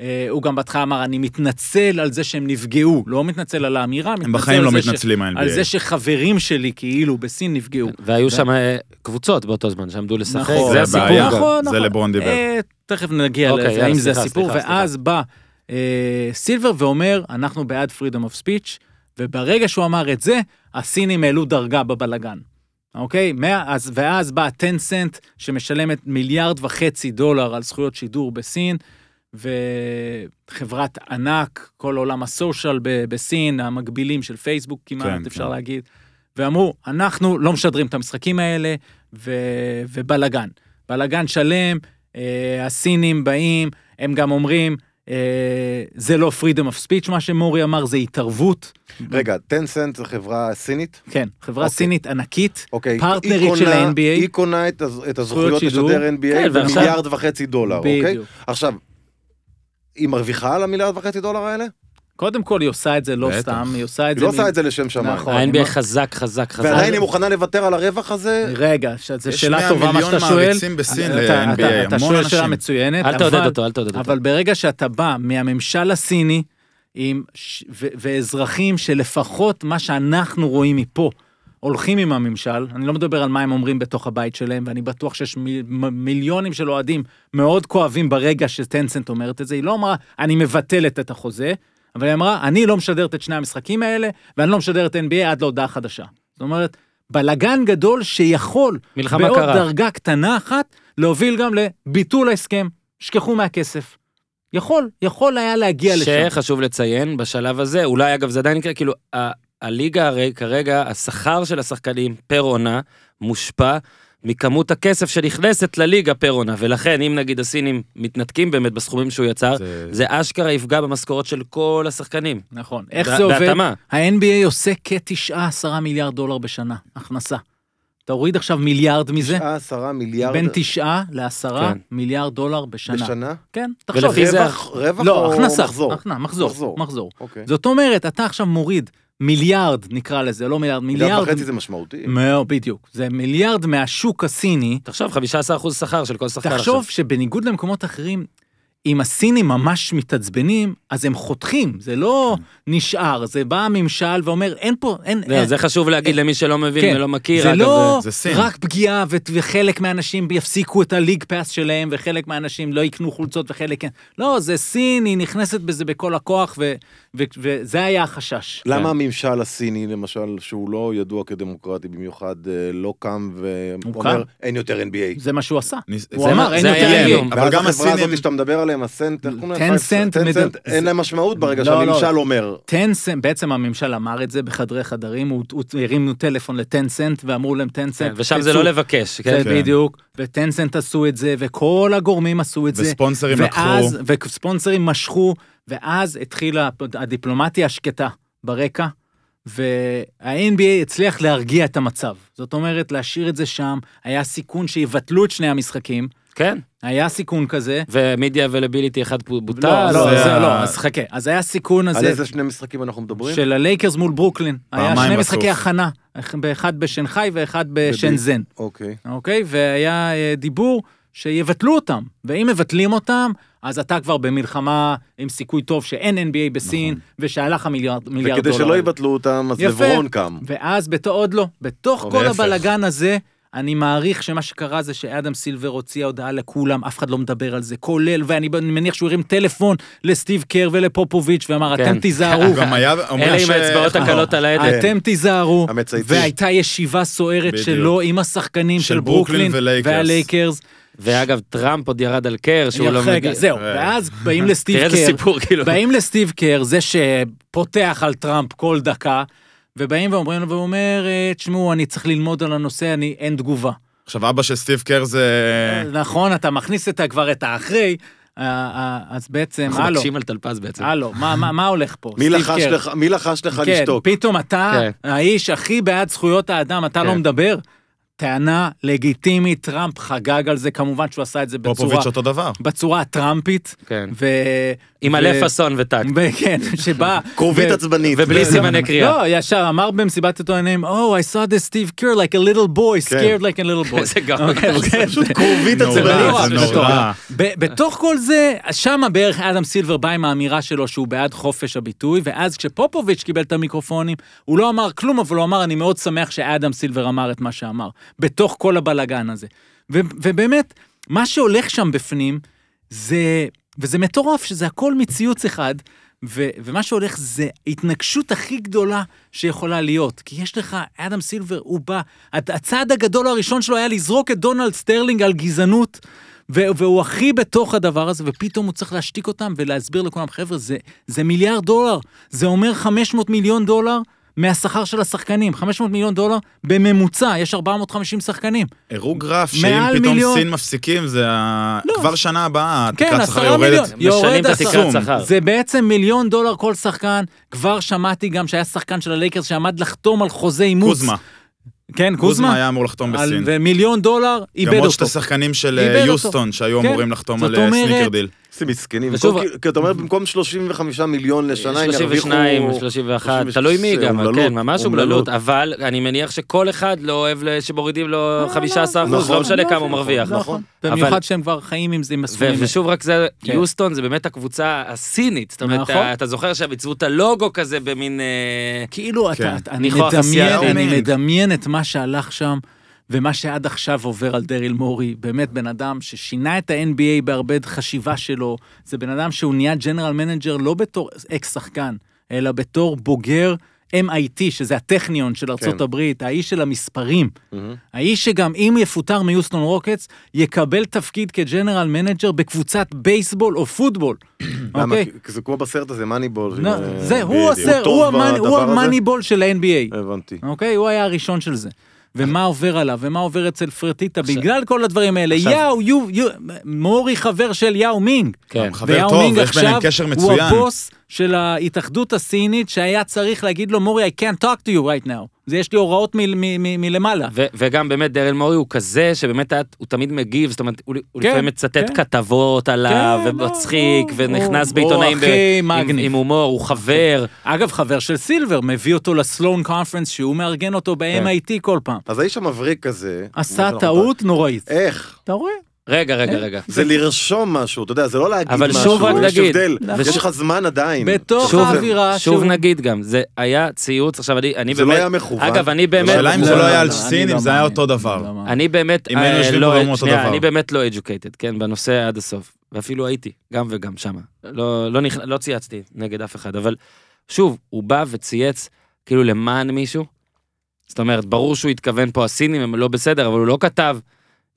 Speaker 3: אה, הוא גם בהתחלה אמר, אני מתנצל על זה שהם נפגעו, לא מתנצל על האמירה, מתנצל
Speaker 4: בחיים
Speaker 3: על
Speaker 4: לא
Speaker 3: זה ש-
Speaker 4: מתנצלים, ה-NBA.
Speaker 3: על זה שחברים שלי כאילו בסין נפגעו.
Speaker 1: והיו שם אה, קבוצות באותו זמן שעמדו לשחק,
Speaker 3: נכון,
Speaker 1: זה
Speaker 4: זה
Speaker 1: הסיפור.
Speaker 4: הבעיה.
Speaker 1: גם.
Speaker 3: נכון,
Speaker 4: זה
Speaker 3: נכון.
Speaker 4: לברון דיבר.
Speaker 3: אה, תכף נגיע
Speaker 1: אוקיי,
Speaker 3: לזה,
Speaker 1: יאללה,
Speaker 3: אם זה
Speaker 1: סליחה,
Speaker 3: הסיפור,
Speaker 1: סליחה,
Speaker 3: ואז בא אה, סילבר ואומר, אנחנו בעד freedom of speech, וברגע שהוא אמר את זה, הסינים העלו דרגה בבלגן. אוקיי? מה- אז, ואז בא טנסנט, שמשלמת מיליארד וחצי דולר על זכויות שידור בסין, וחברת ענק, כל עולם הסושיאל ב- בסין, המקבילים של פייסבוק כמעט,
Speaker 4: כן,
Speaker 3: אפשר
Speaker 4: כן.
Speaker 3: להגיד, ואמרו, אנחנו לא משדרים את המשחקים האלה, ו... ובלאגן. בלאגן שלם, אה, הסינים באים, הם גם אומרים, אה, זה לא freedom of speech, מה שמורי אמר, זה התערבות.
Speaker 2: רגע, טנסנט זה חברה סינית?
Speaker 3: כן, חברה
Speaker 2: אוקיי.
Speaker 3: סינית ענקית,
Speaker 2: אוקיי.
Speaker 3: פרטנרית
Speaker 2: היא קונה-
Speaker 3: של ה-NBA.
Speaker 2: היא קונה את הז- את הזכויות
Speaker 3: שידור.
Speaker 2: לשדר NBA
Speaker 1: כן, ועכשיו-
Speaker 2: במיליארד וחצי דולר, אוקיי?
Speaker 3: בדיוק.
Speaker 2: עכשיו, היא מרוויחה על המיליארד וחצי דולר האלה?
Speaker 3: קודם כל היא עושה את זה לא
Speaker 4: בטח.
Speaker 3: סתם, היא עושה את
Speaker 2: היא
Speaker 3: זה...
Speaker 2: לא
Speaker 3: מ-
Speaker 2: עושה את זה לשם שמיים.
Speaker 3: נכון. אני
Speaker 1: ה-NBA
Speaker 3: מה-
Speaker 1: חזק, חזק, חזק.
Speaker 2: ועדיין היא מוכנה לוותר על הרווח הזה?
Speaker 3: רגע, ש- זו
Speaker 4: יש
Speaker 3: שאלה
Speaker 4: 100
Speaker 3: טובה מה
Speaker 4: מיליון
Speaker 3: שאתה שואל.
Speaker 4: מעריצים בסין
Speaker 3: אתה-
Speaker 4: ל-NBA,
Speaker 3: אתה- אתה
Speaker 4: המון
Speaker 3: שואל שאלה
Speaker 4: אנשים.
Speaker 3: מצוינת,
Speaker 1: אל תעודד
Speaker 3: אבל-
Speaker 1: אותו, אל תעודד אותו.
Speaker 3: נכון. אבל ברגע שאתה בא מהממשל הסיני, עם ש... ו... ואזרחים שלפחות מה שאנחנו רואים מפה, הולכים עם הממשל, אני לא מדבר על מה הם אומרים בתוך הבית שלהם, ואני בטוח שיש מיל... מ- מיליונים של אוהדים מאוד כואבים ברגע שטנסנט אומרת את זה, היא לא אמרה, אני מבטלת את החוזה, אבל היא אמרה, אני לא משדרת את שני המשחקים האלה, ואני לא משדרת NBA עד להודעה חדשה. זאת אומרת, בלגן גדול שיכול,
Speaker 1: מלחמה
Speaker 3: בעוד
Speaker 1: קרה.
Speaker 3: דרגה קטנה אחת, להוביל גם לביטול ההסכם, שכחו מהכסף. יכול, יכול היה להגיע לשם.
Speaker 1: שחשוב לציין, בשלב הזה, אולי אגב זה עדיין יקרה, כאילו, ה- הליגה הרי כרגע, השכר של השחקנים פר עונה מושפע מכמות הכסף שנכנסת לליגה פר עונה, ולכן אם נגיד הסינים מתנתקים באמת בסכומים שהוא יצר,
Speaker 4: זה-
Speaker 1: זה אשכרה יפגע במשכורות של כל השחקנים.
Speaker 3: נכון. איך
Speaker 1: בה-
Speaker 3: זה עובד?
Speaker 1: בהתאמה.
Speaker 3: ה-NBA עושה כ-9-10 מיליארד דולר בשנה, הכנסה. אתה הוריד עכשיו מיליארד מזה,
Speaker 2: 10 מיליארד
Speaker 3: בין 9 ל-10
Speaker 1: כן.
Speaker 3: מיליארד דולר בשנה.
Speaker 2: בשנה?
Speaker 3: כן, תחשוב.
Speaker 1: ולפי זה-
Speaker 2: רווח רווח
Speaker 3: לא,
Speaker 2: או
Speaker 3: הכנסה,
Speaker 2: מחזור?
Speaker 3: הכנסה, מחזור,
Speaker 2: מחזור.
Speaker 3: מחזור.
Speaker 2: אוקיי.
Speaker 3: זאת אומרת, אתה עכשיו מוריד מיליארד, נקרא לזה, לא מיליארד,
Speaker 2: מיליארד
Speaker 3: מיליארד... כן.
Speaker 2: וחצי זה משמעותי.
Speaker 3: מאוד, בדיוק. זה מיליארד מהשוק הסיני,
Speaker 1: תחשוב, 15% שכר של כל שחקן
Speaker 3: תחשוב
Speaker 1: עכשיו.
Speaker 3: שבניגוד למקומות אחרים, אם הסינים ממש מתעצבנים, אז הם חותכים, זה לא
Speaker 1: כן.
Speaker 3: נשאר, זה בא הממשל ואומר, אין פה, אין...
Speaker 1: זה-
Speaker 3: אין-
Speaker 1: זה חשוב להגיד למי שלא מבין
Speaker 3: כן.
Speaker 1: ולא מכיר.
Speaker 3: זה
Speaker 1: אגב,
Speaker 3: לא
Speaker 4: זה- זה סין.
Speaker 3: רק פגיעה ו- וחלק מהאנשים יפסיקו את הליג פאס שלהם וחלק מהאנשים לא יקנו חולצות וחלק כן. לא, זה סין, היא נכנסת בזה בכל הכוח ו- ו- וזה היה החשש.
Speaker 2: למה הממשל הסיני, למשל, שהוא לא ידוע כדמוקרטי במיוחד, אה, לא קם ואומר,
Speaker 3: קם.
Speaker 2: אין יותר
Speaker 1: כן.
Speaker 2: NBA?
Speaker 3: זה מה שהוא עשה.
Speaker 4: ניס-
Speaker 3: הוא
Speaker 4: זה- כן,
Speaker 3: אמר, אין
Speaker 1: זה היה
Speaker 3: יותר... NBA."
Speaker 1: איום.
Speaker 4: אבל
Speaker 2: ואז
Speaker 4: גם
Speaker 2: החברה
Speaker 4: הסינים-
Speaker 2: הזאת שאתה מדבר עליהם, הסנט, איך קוראים להם?
Speaker 3: טנסנט
Speaker 2: פייב- טנסנט,
Speaker 3: מדבר-
Speaker 2: אין להם משמעות ברגע
Speaker 3: לא, לא.
Speaker 2: שהממשל אומר.
Speaker 3: טנסנט, בעצם הממשל אמר את זה בחדרי חדרים, הוא, הוא הרימנו טלפון לטנסנט ואמרו להם טנסנט.
Speaker 1: כן, ושם זה לא
Speaker 3: תצאו."
Speaker 1: לבקש, כן?
Speaker 3: כן,
Speaker 4: כן.
Speaker 3: בדיוק, וטנסנט עשו את זה, וכל הגורמים עשו את זה.
Speaker 4: וספונסרים
Speaker 3: ואז,
Speaker 4: לקחו.
Speaker 3: וספונסרים משכו, ואז התחילה הדיפלומטיה השקטה ברקע, וה-NBA הצליח להרגיע את המצב. זאת אומרת, להשאיר את זה שם, היה סיכון שיבטלו את שני המשחקים,
Speaker 1: כן.
Speaker 3: היה סיכון כזה.
Speaker 1: ומדיה ולביליטי אחד בוטל.
Speaker 3: לא, לא,
Speaker 4: זה
Speaker 3: זה
Speaker 4: ה-
Speaker 3: לא, אז חכה, אז היה סיכון הזה.
Speaker 2: על איזה שני משחקים אנחנו מדברים?
Speaker 3: של הלייקרס מול ברוקלין. היה
Speaker 4: פעמיים
Speaker 3: שני
Speaker 4: רצוף.
Speaker 3: משחקי הכנה, אח- באחד בשנגחאי ואחד בשנזן,
Speaker 2: אוקיי.
Speaker 3: אוקיי? והיה אה, דיבור שיבטלו אותם, ואם מבטלים אותם, אז אתה כבר במלחמה עם סיכוי טוב שאין NBA בסין, ושהלך המיליארד מיליארד דולר.
Speaker 2: נכון. וכדי שלא
Speaker 3: האלה.
Speaker 2: יבטלו אותם, אז
Speaker 3: יפה.
Speaker 2: לברון קם.
Speaker 3: ואז בתוך, עוד לא, בתוך
Speaker 4: או
Speaker 3: כל
Speaker 4: להפך.
Speaker 3: הבלגן הזה, אני מעריך שמה שקרה זה שאדם סילבר הוציא הודעה לכולם, אף אחד לא מדבר על זה, כולל, ואני מניח שהוא הרים טלפון לסטיב קר ולפופוביץ' ואמר,
Speaker 1: כן.
Speaker 3: אתם תיזהרו.
Speaker 2: *laughs*
Speaker 4: הוא גם היה,
Speaker 1: אלה
Speaker 4: אומרים
Speaker 1: עם האצבעות הקלות על ההדק.
Speaker 3: אתם תיזהרו,
Speaker 2: המצייצים.
Speaker 3: והייתה ישיבה סוערת
Speaker 4: בדיוק.
Speaker 3: שלו עם השחקנים
Speaker 4: של
Speaker 3: של ברוקלין
Speaker 4: ברוקלין ולייקרס.
Speaker 3: והלייקרס.
Speaker 1: ואגב, טראמפ עוד ירד על קר שהוא לא
Speaker 3: רגע,
Speaker 1: מגיע.
Speaker 3: זהו,
Speaker 4: אה.
Speaker 3: ואז באים לסטיב
Speaker 1: תראה איזה
Speaker 3: קר,
Speaker 1: סיפור, כאילו.
Speaker 3: באים לסטיב קר, זה שפותח על טראמפ כל דקה, ובאים ואומרים לו, והוא אומר, "אה, תשמעו, אני צריך ללמוד על הנושא, אני, אין תגובה.
Speaker 4: עכשיו, אבא של סטיב קר זה... אה.
Speaker 3: נכון, אתה מכניס את ה- כבר את האחרי, אה, אה, אז בעצם,
Speaker 1: אנחנו
Speaker 3: הלו,
Speaker 1: מקשים על טלפז בעצם.
Speaker 3: הלו, מה- מה מה הולך פה?
Speaker 2: מי
Speaker 3: סטיב
Speaker 2: לחש
Speaker 3: קר.
Speaker 2: לך- מי לחש לך
Speaker 3: כן,
Speaker 2: לשתוק?
Speaker 3: פתאום אתה
Speaker 1: כן.
Speaker 3: האיש הכי בעד זכויות האדם, אתה לא
Speaker 1: כן.
Speaker 3: מדבר? טענה לגיטימית, טראמפ חגג על זה, כמובן שהוא עשה את זה בצורה,
Speaker 4: פופוביץ' אותו דבר.
Speaker 3: בצורה הטראמפית.
Speaker 1: כן.
Speaker 3: ו...
Speaker 1: עם
Speaker 3: ו-
Speaker 1: מלא פאסון וטאק.
Speaker 3: ו- כן, *laughs* שבה...
Speaker 2: כרובית
Speaker 3: ו-
Speaker 2: עצבנית. *laughs*
Speaker 1: ובלי סימני קריאה.
Speaker 3: לא, ישר אמר במסיבת עיתונאים, Oh, I saw this Steve Kerr like a little boy,
Speaker 1: כן.
Speaker 3: scared like a little boy.
Speaker 1: איזה גאון.
Speaker 3: אוקיי, אוקיי. *laughs*
Speaker 2: כרובית
Speaker 4: נורא,
Speaker 2: עצבנית. לא-
Speaker 3: נורא,
Speaker 4: זה
Speaker 3: זה
Speaker 4: נורא.
Speaker 3: ב- בתוך כל זה, שמה בערך אדם סילבר בא עם האמירה שלו שהוא בעד חופש הביטוי, ואז כשפופוביץ' קיבל את המיקרופונים, הוא לא אמר כלום, אבל הוא אמר, אני מאוד שמח שאדם סילבר אמר את מה שאמר, בתוך כל הבלגן הזה. ו- ובאמת, מה שהולך שם בפנים, זה, וזה מטורף, שזה הכל מציוץ אחד, ו, ומה שהולך זה ההתנגשות הכי גדולה שיכולה להיות. כי יש לך, אדם סילבר, הוא בא, הת- הצעד הגדול הראשון שלו היה לזרוק את דונלד סטרלינג על גזענות, ו- והוא הכי בתוך הדבר הזה, ופתאום הוא צריך להשתיק אותם ולהסביר לכולם, חבר'ה, זה, זה מיליארד דולר, זה אומר 500 מיליון דולר. מהשכר של השחקנים, 500 מיליון דולר בממוצע, יש 450 שחקנים.
Speaker 4: הראו גרף שאם
Speaker 3: מעל
Speaker 4: פתאום
Speaker 3: מיליון.
Speaker 4: סין מפסיקים, זה ה-
Speaker 3: לא.
Speaker 4: כבר שנה הבאה,
Speaker 3: כן,
Speaker 4: התקרת שכר
Speaker 3: עשרה מיליון.
Speaker 4: יורדת.
Speaker 1: משנים את
Speaker 3: יורד
Speaker 1: התקרת
Speaker 4: הסכום.
Speaker 1: שכר.
Speaker 3: זה בעצם מיליון דולר כל שחקן, כבר שמעתי גם שהיה שחקן של הלייקרס שעמד לחתום על חוזה אימוץ.
Speaker 4: קוזמה,
Speaker 3: כן,
Speaker 4: קוזמה
Speaker 3: קוזמה.
Speaker 4: היה אמור לחתום
Speaker 3: על-
Speaker 4: בסין.
Speaker 3: ומיליון דולר,
Speaker 4: גם
Speaker 3: איבד
Speaker 4: עוד
Speaker 3: אותו.
Speaker 4: שתי שחקנים של
Speaker 3: איבד
Speaker 4: אה,
Speaker 3: אותו.
Speaker 4: יוסטון שהיו
Speaker 3: כן.
Speaker 4: אמורים לחתום
Speaker 3: זאת
Speaker 4: על אה,
Speaker 3: אומרת-
Speaker 4: סניקר דיל.
Speaker 2: איזה מסכנים.
Speaker 1: ושוב-
Speaker 2: במקום- כי אתה אומר, במקום 35 מיליון לשנה, הם ירוויחו...
Speaker 1: 32, 31,
Speaker 2: 36,
Speaker 1: תלוי מי גם,
Speaker 2: אומללות,
Speaker 1: כן, ממש אומללות,
Speaker 2: אומללות.
Speaker 1: אבל אני מניח שכל אחד לא אוהב ל- שמורידים לו 15 אחוז,
Speaker 2: נכון,
Speaker 1: לא משנה
Speaker 3: לא,
Speaker 1: כמה הוא
Speaker 3: נכון,
Speaker 1: מרוויח.
Speaker 2: נכון.
Speaker 1: אבל-
Speaker 3: במיוחד שהם כבר חיים עם זה, עם
Speaker 1: ו-
Speaker 3: הסכומים. האלה.
Speaker 1: ושוב רק זה,
Speaker 3: כן.
Speaker 1: יוסטון זה באמת הקבוצה הסינית, זאת אומרת,
Speaker 3: נכון.
Speaker 1: אתה- אתה זוכר שהם עיצבו את הלוגו כזה במין... אה,
Speaker 3: כאילו,
Speaker 4: כן.
Speaker 3: אתה, אתה- אני,
Speaker 1: ניחוח
Speaker 3: מדמיין,
Speaker 1: אסיאתי.
Speaker 3: אני מדמיין את מה שהלך שם, ומה שעד עכשיו עובר על דריל מורי. באמת בן אדם ששינה את ה-NBA בהרבה חשיבה שלו. זה בן אדם שהוא נהיה ג'נרל מנג'ר לא בתור אקס שחקן, אלא בתור בוגר MIT, שזה הטכניון של ארצות
Speaker 2: כן. Mm-hmm.
Speaker 3: הברית, האיש של המספרים.
Speaker 2: מהמם.
Speaker 3: האיש שגם אם יפוטר מיוסטון רוקטס, יקבל תפקיד כג'נרל מנג'ר בקבוצת בייסבול או פוטבול.
Speaker 2: למה?
Speaker 3: אוקיי?
Speaker 2: כי זה כמו בסרט הזה, מאניבול.
Speaker 3: נו,
Speaker 2: אה,
Speaker 3: זה, הוא
Speaker 4: בדיוק.
Speaker 3: הסר,
Speaker 2: הוא
Speaker 3: הוא
Speaker 2: טוב
Speaker 3: המאני- הוא
Speaker 2: בדבר הזה?
Speaker 3: המאניבול של ה-NBA.
Speaker 2: הבנתי.
Speaker 3: אוקיי? הוא היה הראשון של זה. ומה עובר עליו, ומה עובר אצל פרטיטה, בגלל כל הדברים האלה.
Speaker 1: עכשיו-
Speaker 3: יאו, יו, יו, מורי חבר של יאו מינג.
Speaker 1: כן.
Speaker 4: חבר טוב, יש ביניהם קשר
Speaker 3: הוא
Speaker 4: מצוין.
Speaker 3: הבוס של ההתאחדות הסינית, שהיה צריך להגיד לו, מורי, I can't talk to you right now. זה יש לי הוראות מ- מ- מ- מלמעלה.
Speaker 1: ו- וגם באמת דרל מורי הוא כזה שבאמת היה- הוא תמיד מגיב, זאת אומרת, הוא הוא
Speaker 3: כן,
Speaker 1: לפעמים מצטט
Speaker 3: כן.
Speaker 1: כתבות עליו,
Speaker 3: כן, לא,
Speaker 1: ומצחיק,
Speaker 3: הוא-
Speaker 1: ונכנס
Speaker 3: הוא-
Speaker 1: בעיתונאים
Speaker 3: הוא
Speaker 1: ב-
Speaker 3: הכי
Speaker 1: עם-
Speaker 3: מגניב.
Speaker 1: עם הומור, הוא חבר.
Speaker 3: אגב, חבר של סילבר מביא אותו לסלון קונפרנס, שהוא מארגן אותו
Speaker 1: כן.
Speaker 3: ב-MIT כל פעם.
Speaker 2: אז האיש המבריק הזה...
Speaker 1: לא
Speaker 2: כמו
Speaker 3: עשה
Speaker 2: שאנחנו-
Speaker 3: טעות נוראית.
Speaker 2: איך?
Speaker 3: אתה רואה?
Speaker 1: רגע,
Speaker 3: כן.
Speaker 1: רגע, רגע.
Speaker 2: זה לרשום משהו, אתה יודע, זה לא להגיד משהו.
Speaker 1: אבל שוב רק
Speaker 2: יש
Speaker 1: נגיד,
Speaker 2: הבדל,
Speaker 1: נכון.
Speaker 2: יש לך זמן עדיין.
Speaker 3: בתוך
Speaker 1: שוב-
Speaker 3: האווירה
Speaker 1: שוב
Speaker 3: שהוא-
Speaker 1: נגיד גם, זה היה ציוץ, עכשיו אני אני באמת...
Speaker 2: זה לא היה מכוון.
Speaker 1: אגב, אני באמת...
Speaker 4: השאלה אם זה
Speaker 3: לא,
Speaker 4: לא
Speaker 3: לא,
Speaker 4: היה
Speaker 3: לא,
Speaker 4: על
Speaker 3: אני
Speaker 4: סין,
Speaker 3: לא
Speaker 4: אם זה היה
Speaker 3: מאמין,
Speaker 4: אותו
Speaker 3: אני לא
Speaker 4: דבר.
Speaker 3: מאמין.
Speaker 1: אני באמת...
Speaker 4: אם היינו
Speaker 1: אה,
Speaker 4: יושבים
Speaker 1: לא-
Speaker 4: פה ואומרים אותו
Speaker 1: שנייה,
Speaker 4: דבר.
Speaker 1: אני באמת לא educated, כן, בנושא עד הסוף. ואפילו הייתי, גם וגם שמה. לא לא נכ- לא צייצתי נגד אף אחד, אבל שוב, הוא בא וצייץ כאילו למען מישהו. זאת אומרת, ברור שהוא התכוון פה, הסינים הם לא בסדר, אבל הוא לא כתב...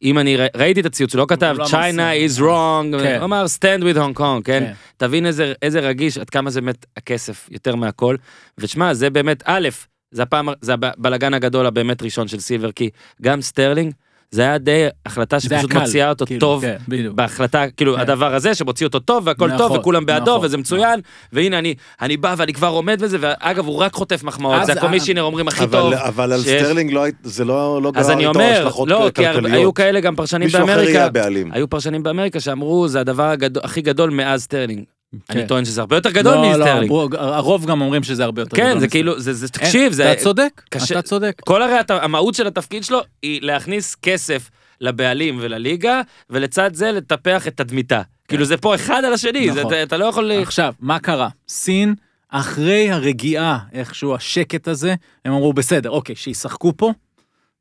Speaker 1: אם אני ר- ראיתי את הציוץ, הוא לא כתב,
Speaker 3: לא אמר
Speaker 1: China is
Speaker 4: נכון.
Speaker 1: wrong,
Speaker 3: כן.
Speaker 1: הוא אמר, stand with Hong Kong, כן?
Speaker 3: כן.
Speaker 1: תבין איזה, איזה רגיש, עד כמה זה מת הכסף יותר מהכל. ושמע, זה באמת, א', זה הפעם, זה הבלגן הגדול הבאמת ראשון של סילבר, כי גם סטרלינג, זה היה די החלטה
Speaker 3: זה היה
Speaker 1: שפשוט
Speaker 3: קל,
Speaker 1: מוציאה אותו
Speaker 3: כאילו,
Speaker 1: טוב.
Speaker 3: כן, בדיוק.
Speaker 1: בהחלטה, כאילו
Speaker 3: כן.
Speaker 1: הדבר הזה שמוציא אותו טוב והכל טוב
Speaker 3: נכון,
Speaker 1: וכולם בעדו
Speaker 3: נכון.
Speaker 1: וזה מצוין והנה אני אני בא ואני כבר עומד בזה ואגב הוא רק חוטף מחמאות
Speaker 3: אז-
Speaker 1: זה הקומישיונר אומרים הכי
Speaker 2: אבל-
Speaker 1: טוב.
Speaker 2: אבל על
Speaker 1: שיש.
Speaker 2: סטרלינג לא היית- זה לא לא
Speaker 1: אז
Speaker 2: גרר
Speaker 1: אני
Speaker 2: איתו
Speaker 1: אומר,
Speaker 2: השלכות
Speaker 1: לא, כי הר-
Speaker 2: כלכליות.
Speaker 1: היו כאלה גם פרשנים
Speaker 2: מישהו אחר יהיה
Speaker 1: באמריקה,
Speaker 2: הבעלים.
Speaker 1: היו פרשנים באמריקה שאמרו זה הדבר הגד- הכי גדול מאז סטרלינג. אני טוען שזה הרבה יותר גדול
Speaker 3: כן. לא, לא,
Speaker 1: מסטרלינג.
Speaker 3: ברור, הרוב גם אומרים שזה הרבה יותר
Speaker 1: כן,
Speaker 3: גדול
Speaker 1: זה
Speaker 3: מזה.
Speaker 1: כאילו, זה, זה,
Speaker 3: אין,
Speaker 1: תקשיב, זה,
Speaker 3: אתה צודק,
Speaker 1: קשה-
Speaker 3: אתה צודק.
Speaker 1: כל הרי הת- המהות של התפקיד שלו היא להכניס כסף לבעלים ולליגה, ולצד זה לטפח את תדמיתה. כאילו זה פה אחד על השני, זה,
Speaker 3: כן. נכון.
Speaker 1: אתה, אתה לא יכול... ל-
Speaker 3: עכשיו, מה קרה? סין, אחרי הרגיעה, איכשהו השקט הזה, הם אמרו, בסדר, אוקיי, שישחקו פה,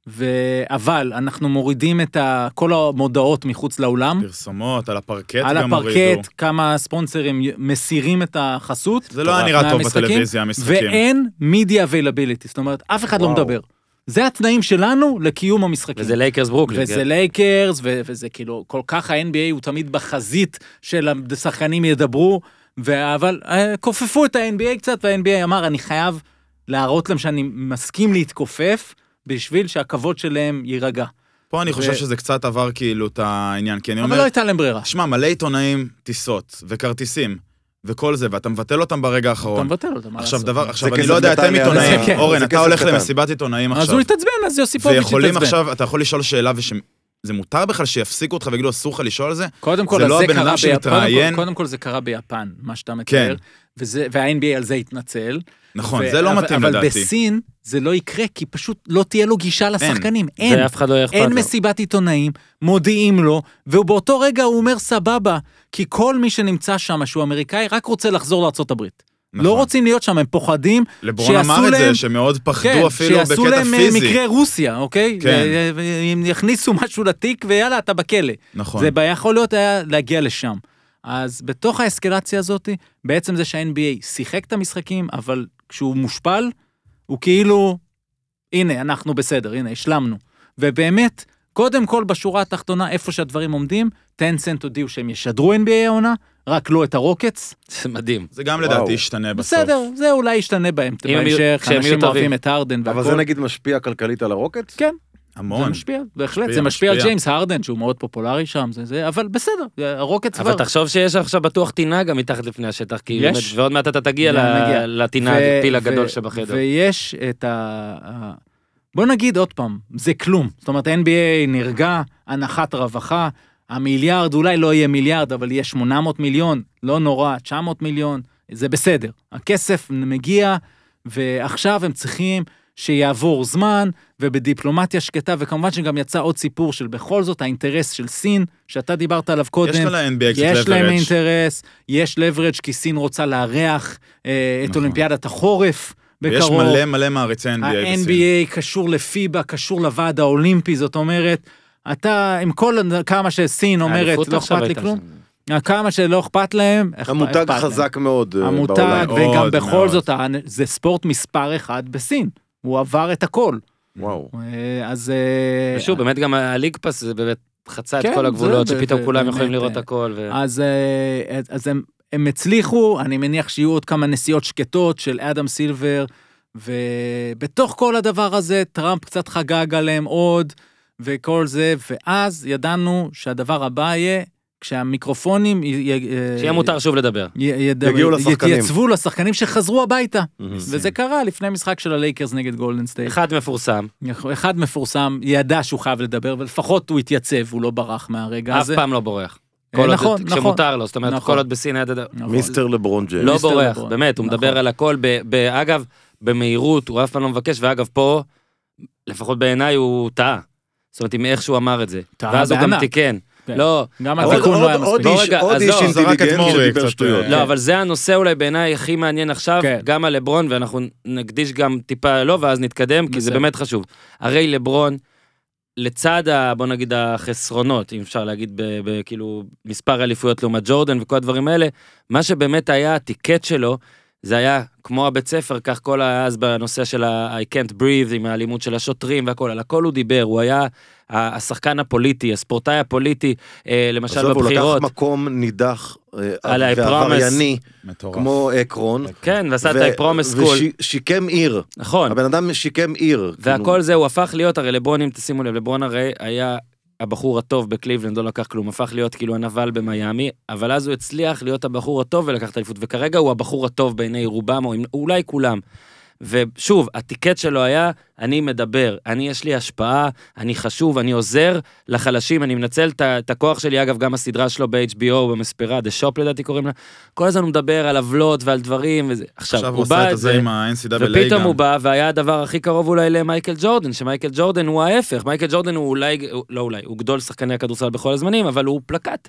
Speaker 3: ו... אבל אנחנו מורידים את ה... כל המודעות מחוץ לאולם,
Speaker 4: פרסומות, על הפרקט
Speaker 3: על
Speaker 4: גם הורידו.
Speaker 3: הפרקט, כמה ספונסרים י- מסירים את החסות.
Speaker 4: זה לא היה נראה טוב
Speaker 3: מהמשחקים,
Speaker 4: בטלוויזיה, המשחקים.
Speaker 3: ואין media availability, זאת אומרת, אף אחד לא
Speaker 2: וואו.
Speaker 3: מדבר. זה התנאים שלנו לקיום המשחקים.
Speaker 1: וזה לייקרס ברוקלין.
Speaker 3: אוקיי,
Speaker 1: כן.
Speaker 3: וזה לייקרס, ו- וזה כאילו, כל כך ה-NBA הוא תמיד בחזית של השחקנים ידברו, ו- אבל אה, כופפו את ה-NBA קצת, וה-NBA אמר, אני חייב להראות להם שאני מסכים להתכופף, בשביל שהכבוד שלהם יירגע.
Speaker 4: פה אני חושב
Speaker 3: ו-
Speaker 4: שזה קצת עבר כאילו את העניין, כי אני
Speaker 3: אבל לא
Speaker 4: אומר,
Speaker 3: הייתה להם ברירה.
Speaker 4: שמע, מלא עיתונאים, טיסות וכרטיסים וכל זה, ואתה מבטל אותם ברגע
Speaker 3: אתה
Speaker 4: האחרון.
Speaker 3: מבטל אותה, מה
Speaker 4: עכשיו
Speaker 3: לעשות?
Speaker 4: דבר, עכשיו
Speaker 2: זה
Speaker 4: אני
Speaker 2: כסף
Speaker 4: לא יודע,
Speaker 2: קטן
Speaker 4: אתם
Speaker 2: ליד
Speaker 4: עיתונאים,
Speaker 3: הזה. כן,
Speaker 4: אורן,
Speaker 2: זה
Speaker 4: אתה
Speaker 2: כסף
Speaker 4: הולך
Speaker 2: קטן.
Speaker 4: למסיבת עיתונאים
Speaker 3: אז הוא
Speaker 4: עכשיו,
Speaker 3: התעצבן, אז יוסיפוביץ'
Speaker 4: ויכולים
Speaker 3: התעצבן.
Speaker 4: עכשיו, אתה יכול לשאול שאלה וש... זה מותר בכלל שיפסיקו אותך ויגידו אסור לך לשאול על זה?
Speaker 3: קודם כל,
Speaker 4: זה
Speaker 3: אז
Speaker 4: לא
Speaker 3: זה
Speaker 4: הבן אדם
Speaker 3: קרה ביפן,
Speaker 4: שמתראיין?
Speaker 3: קודם כל- קודם כל זה קרה ביפן, מה שאתה מתאר,
Speaker 4: כן.
Speaker 3: וזה- וה-NBA על זה התנצל.
Speaker 4: נכון,
Speaker 3: ו-
Speaker 4: זה לא
Speaker 3: אבל-
Speaker 4: מתאים
Speaker 3: אבל
Speaker 4: לדעתי.
Speaker 3: בסין זה לא יקרה, כי פשוט לא תהיה לו גישה לשחקנים, אין.
Speaker 1: זה אף אחד לא יהיה אכפת
Speaker 3: אין
Speaker 1: לו.
Speaker 3: מסיבת עיתונאים, מודיעים לו, ובאותו רגע הוא אומר סבבה, כי כל מי שנמצא שם שהוא אמריקאי רק רוצה לחזור לארה"ב.
Speaker 4: נכון.
Speaker 3: לא רוצים להיות שם, הם פוחדים
Speaker 4: לברון
Speaker 3: שיעשו
Speaker 4: אמר את
Speaker 3: להם...
Speaker 4: זה, שמאוד
Speaker 3: כן,
Speaker 4: פחדו אפילו
Speaker 3: שיעשו
Speaker 4: בקטע
Speaker 3: להם אה,
Speaker 4: פיזי.
Speaker 3: מקרה רוסיה, אוקיי?
Speaker 4: כן.
Speaker 3: אה, אה, אם יכניסו משהו לתיק ויאללה, אתה בכלא.
Speaker 4: נכון.
Speaker 3: זה ב- יכול להיות היה להגיע לשם. אז בתוך האסקלציה הזאת, בעצם זה שה-NBA שיחק את המשחקים, אבל כשהוא מושפל, הוא כאילו, הנה, אנחנו בסדר, הנה, השלמנו. ובאמת, קודם כל בשורה התחתונה, איפה שהדברים עומדים, טנסנט הודיעו שהם ישדרו NBA העונה, רק לא את הרוקטס.
Speaker 1: זה מדהים.
Speaker 4: זה גם
Speaker 2: וואו.
Speaker 4: לדעתי ישתנה בסוף.
Speaker 3: בסדר, זה אולי ישתנה בהם-
Speaker 1: אם הם יהיו-
Speaker 3: בהמשך,
Speaker 1: כשהם יהיו
Speaker 3: אנשים
Speaker 1: טובים.
Speaker 3: אוהבים את הארדן
Speaker 2: אבל זה
Speaker 3: והכל.
Speaker 2: נגיד משפיע כלכלית על הרוקט?
Speaker 3: כן, זה
Speaker 4: המון.
Speaker 3: משפיע, בהחלט,
Speaker 4: משפיע,
Speaker 3: זה משפיע על
Speaker 4: נכון. משפיע.
Speaker 3: ג'יימס הארדן שהוא מאוד פופולרי שם, זה זה, אבל בסדר, הרוקטס כבר.
Speaker 1: אבל תחשוב שיש עכשיו בטוח טינה גם מתחת לפני השטח, כי
Speaker 3: יש.
Speaker 1: באמת, ועוד מעט אתה תגיע ל-
Speaker 3: נגיע.
Speaker 1: לטינה,
Speaker 3: ו-
Speaker 1: לפיל
Speaker 3: ו-
Speaker 1: הגדול שבחדר.
Speaker 3: ויש את ה... ה- בוא נגיד עוד פעם, זה כלום. זאת אומרת, NBA נרגע, הנחת רווחה, המיליארד אולי לא יהיה מיליארד, אבל יהיה 800 מיליון, לא נורא, 900 מיליון, זה בסדר. הכסף מגיע, ועכשיו הם צריכים שיעבור זמן, ובדיפלומטיה שקטה, וכמובן שגם יצא עוד סיפור של בכל זאת האינטרס של סין, שאתה דיברת עליו קודם.
Speaker 4: יש לה ל-NBA קצת
Speaker 3: יש להם
Speaker 4: leverage.
Speaker 3: אינטרס, יש leverage כי סין רוצה לארח אה, את
Speaker 4: נכון.
Speaker 3: אולימפיאדת החורף
Speaker 4: ויש
Speaker 3: בקרוב.
Speaker 4: מלא מלא מעריצי NBA בסין.
Speaker 3: ה-NBA קשור לפיבה, קשור לוועד האולימפי, זאת אומרת, אתה, עם כל כמה שסין אומרת,
Speaker 1: האליפות
Speaker 3: לא
Speaker 1: עכשיו
Speaker 3: אכפת לי
Speaker 1: הייתה
Speaker 3: כלום, אה, כמה שלא אכפת להם, אכפ-
Speaker 2: המותג
Speaker 3: אכפת להם.
Speaker 2: חזק מאוד אה,
Speaker 3: המותג,
Speaker 2: בעולם.
Speaker 1: לא,
Speaker 3: וגם
Speaker 4: מאוד,
Speaker 3: בכל
Speaker 4: מאוד.
Speaker 3: זאת, ה- זה ספורט מספר אחד בסין, הוא עבר את הכל.
Speaker 2: וואו.
Speaker 3: אה, אז... אה,
Speaker 1: ושוב, באמת גם הליג פאס זה באמת חצה את
Speaker 3: כן,
Speaker 1: כל
Speaker 3: זה
Speaker 1: הגבולות,
Speaker 3: ב-
Speaker 1: שפתאום
Speaker 3: ב-
Speaker 1: כולם
Speaker 3: באמת,
Speaker 1: יכולים לראות
Speaker 3: אה,
Speaker 1: הכל. ו-
Speaker 3: אז, אה, אז הם, הם הצליחו, אני מניח שיהיו עוד כמה נסיעות שקטות של אדם סילבר, ובתוך כל הדבר הזה טראמפ קצת חגג עליהם עוד, וכל זה, ואז ידענו שהדבר הבא יהיה כשהמיקרופונים... י- י- אה,
Speaker 1: שיהיה מותר שוב לדבר.
Speaker 3: י- יד-
Speaker 2: יגיעו לשחקנים.
Speaker 3: יתייצבו לשחקנים שחזרו הביתה,
Speaker 4: ניסים.
Speaker 3: וזה קרה לפני משחק של הלייקרס נגד גולדן סטייט.
Speaker 1: אחד מפורסם,
Speaker 3: אחד מפורסם ידע שהוא חייב לדבר, ולפחות הוא התייצב, הוא לא ברח מהרגע
Speaker 1: אף
Speaker 3: הזה.
Speaker 1: פעם לא בורח.
Speaker 3: אה,
Speaker 1: כל עוד-
Speaker 3: נכון, נכון.
Speaker 1: כשמותר לו, זאת אומרת,
Speaker 3: נכון.
Speaker 1: כל עוד בסין היה...
Speaker 3: נכון.
Speaker 2: מיסטר לברון ג'יימס.
Speaker 1: לא
Speaker 3: מיסטר
Speaker 1: בורח,
Speaker 3: לברון.
Speaker 1: באמת, הוא
Speaker 3: נכון.
Speaker 1: מדבר על הכל, ב- ב- אגב, במהירות, הוא אף פעם לא מבקש, ואגב, פה, לפחות בעיניי, הוא טעה. זאת אומרת, עם איך שהוא אמר את זה.
Speaker 3: טעה
Speaker 1: ואז הוא גם
Speaker 3: בענק.
Speaker 1: תיקן.
Speaker 3: כן.
Speaker 1: לא,
Speaker 3: גם
Speaker 1: עוד-
Speaker 3: התיקון לא היה
Speaker 2: עוד
Speaker 3: מספיק.
Speaker 1: בוא
Speaker 2: איש-
Speaker 1: רגע,
Speaker 2: עוד
Speaker 1: אז
Speaker 2: איש
Speaker 1: לא, זה רק
Speaker 2: אינטליגנטי
Speaker 4: אתמול
Speaker 2: שדיבר
Speaker 4: קצת,
Speaker 2: שטויות.
Speaker 4: אה,
Speaker 1: לא, אבל זה הנושא אולי בעיניי הכי מעניין עכשיו,
Speaker 3: כן.
Speaker 1: גם על לברון, ואנחנו נקדיש גם טיפה לו, ואז נתקדם, כי זה
Speaker 3: בסדר.
Speaker 1: באמת חשוב. הרי לברון, לצד, ה, בוא נגיד, החסרונות, אם אפשר להגיד, ב- ב- כאילו, מספר אליפויות לעומת ג'ורדן וכל הדברים האלה, מה שבאמת היה הטיקט שלו, זה היה כמו הבית ספר, כך כל היה אז בנושא של ה-I can't breathe, עם האלימות של השוטרים והכל, על הכל הוא דיבר, הוא היה ה- השחקן הפוליטי, הספורטאי הפוליטי, אה, למשל
Speaker 2: עזוב, הוא לקח
Speaker 1: בבחירות.
Speaker 2: מקום נידח
Speaker 1: על
Speaker 2: אה,
Speaker 1: ה-I promise.
Speaker 2: ועברייני,
Speaker 4: מטורף.
Speaker 2: כמו עקרון.
Speaker 1: כן, ועשה את
Speaker 2: ו-
Speaker 1: ה-promise school,
Speaker 2: ושיקם עיר.
Speaker 1: נכון.
Speaker 2: הבן אדם שיקם עיר.
Speaker 1: והכל
Speaker 2: כאילו,
Speaker 1: זה, הוא הפך להיות, הרי לברון, אם תשימו לב, לברון הרי היה הבחור הטוב בקליבלנד, לא לקח כלום, הפך להיות כאילו הנבל במיאמי, אבל אז הוא הצליח להיות הבחור הטוב ולקח את האליפות, וכרגע הוא הבחור הטוב בעיני רובם, או אם- אולי כולם. ושוב, הטיקט שלו היה, אני מדבר, אני יש לי השפעה, אני חשוב, אני עוזר לחלשים, אני מנצל את ה- את הכוח שלי, אגב, גם הסדרה שלו ב-HBO, במספרה, The Shop לדעתי קוראים לה, כל הזמן הוא מדבר על עוולות ועל דברים, וזה, עכשיו,
Speaker 4: עכשיו הוא
Speaker 1: הוא בא...
Speaker 4: עשה את זה
Speaker 1: זה-
Speaker 4: עם ה-NCAA גם.
Speaker 1: ופתאום הוא בא והיה הדבר הכי קרוב אולי למייקל ג'ורדן, שמייקל ג'ורדן הוא ההפך, מייקל ג'ורדן הוא אולי, לא אולי, הוא גדול שחקני הכדורסל בכל הזמנים, אבל הוא פלקט.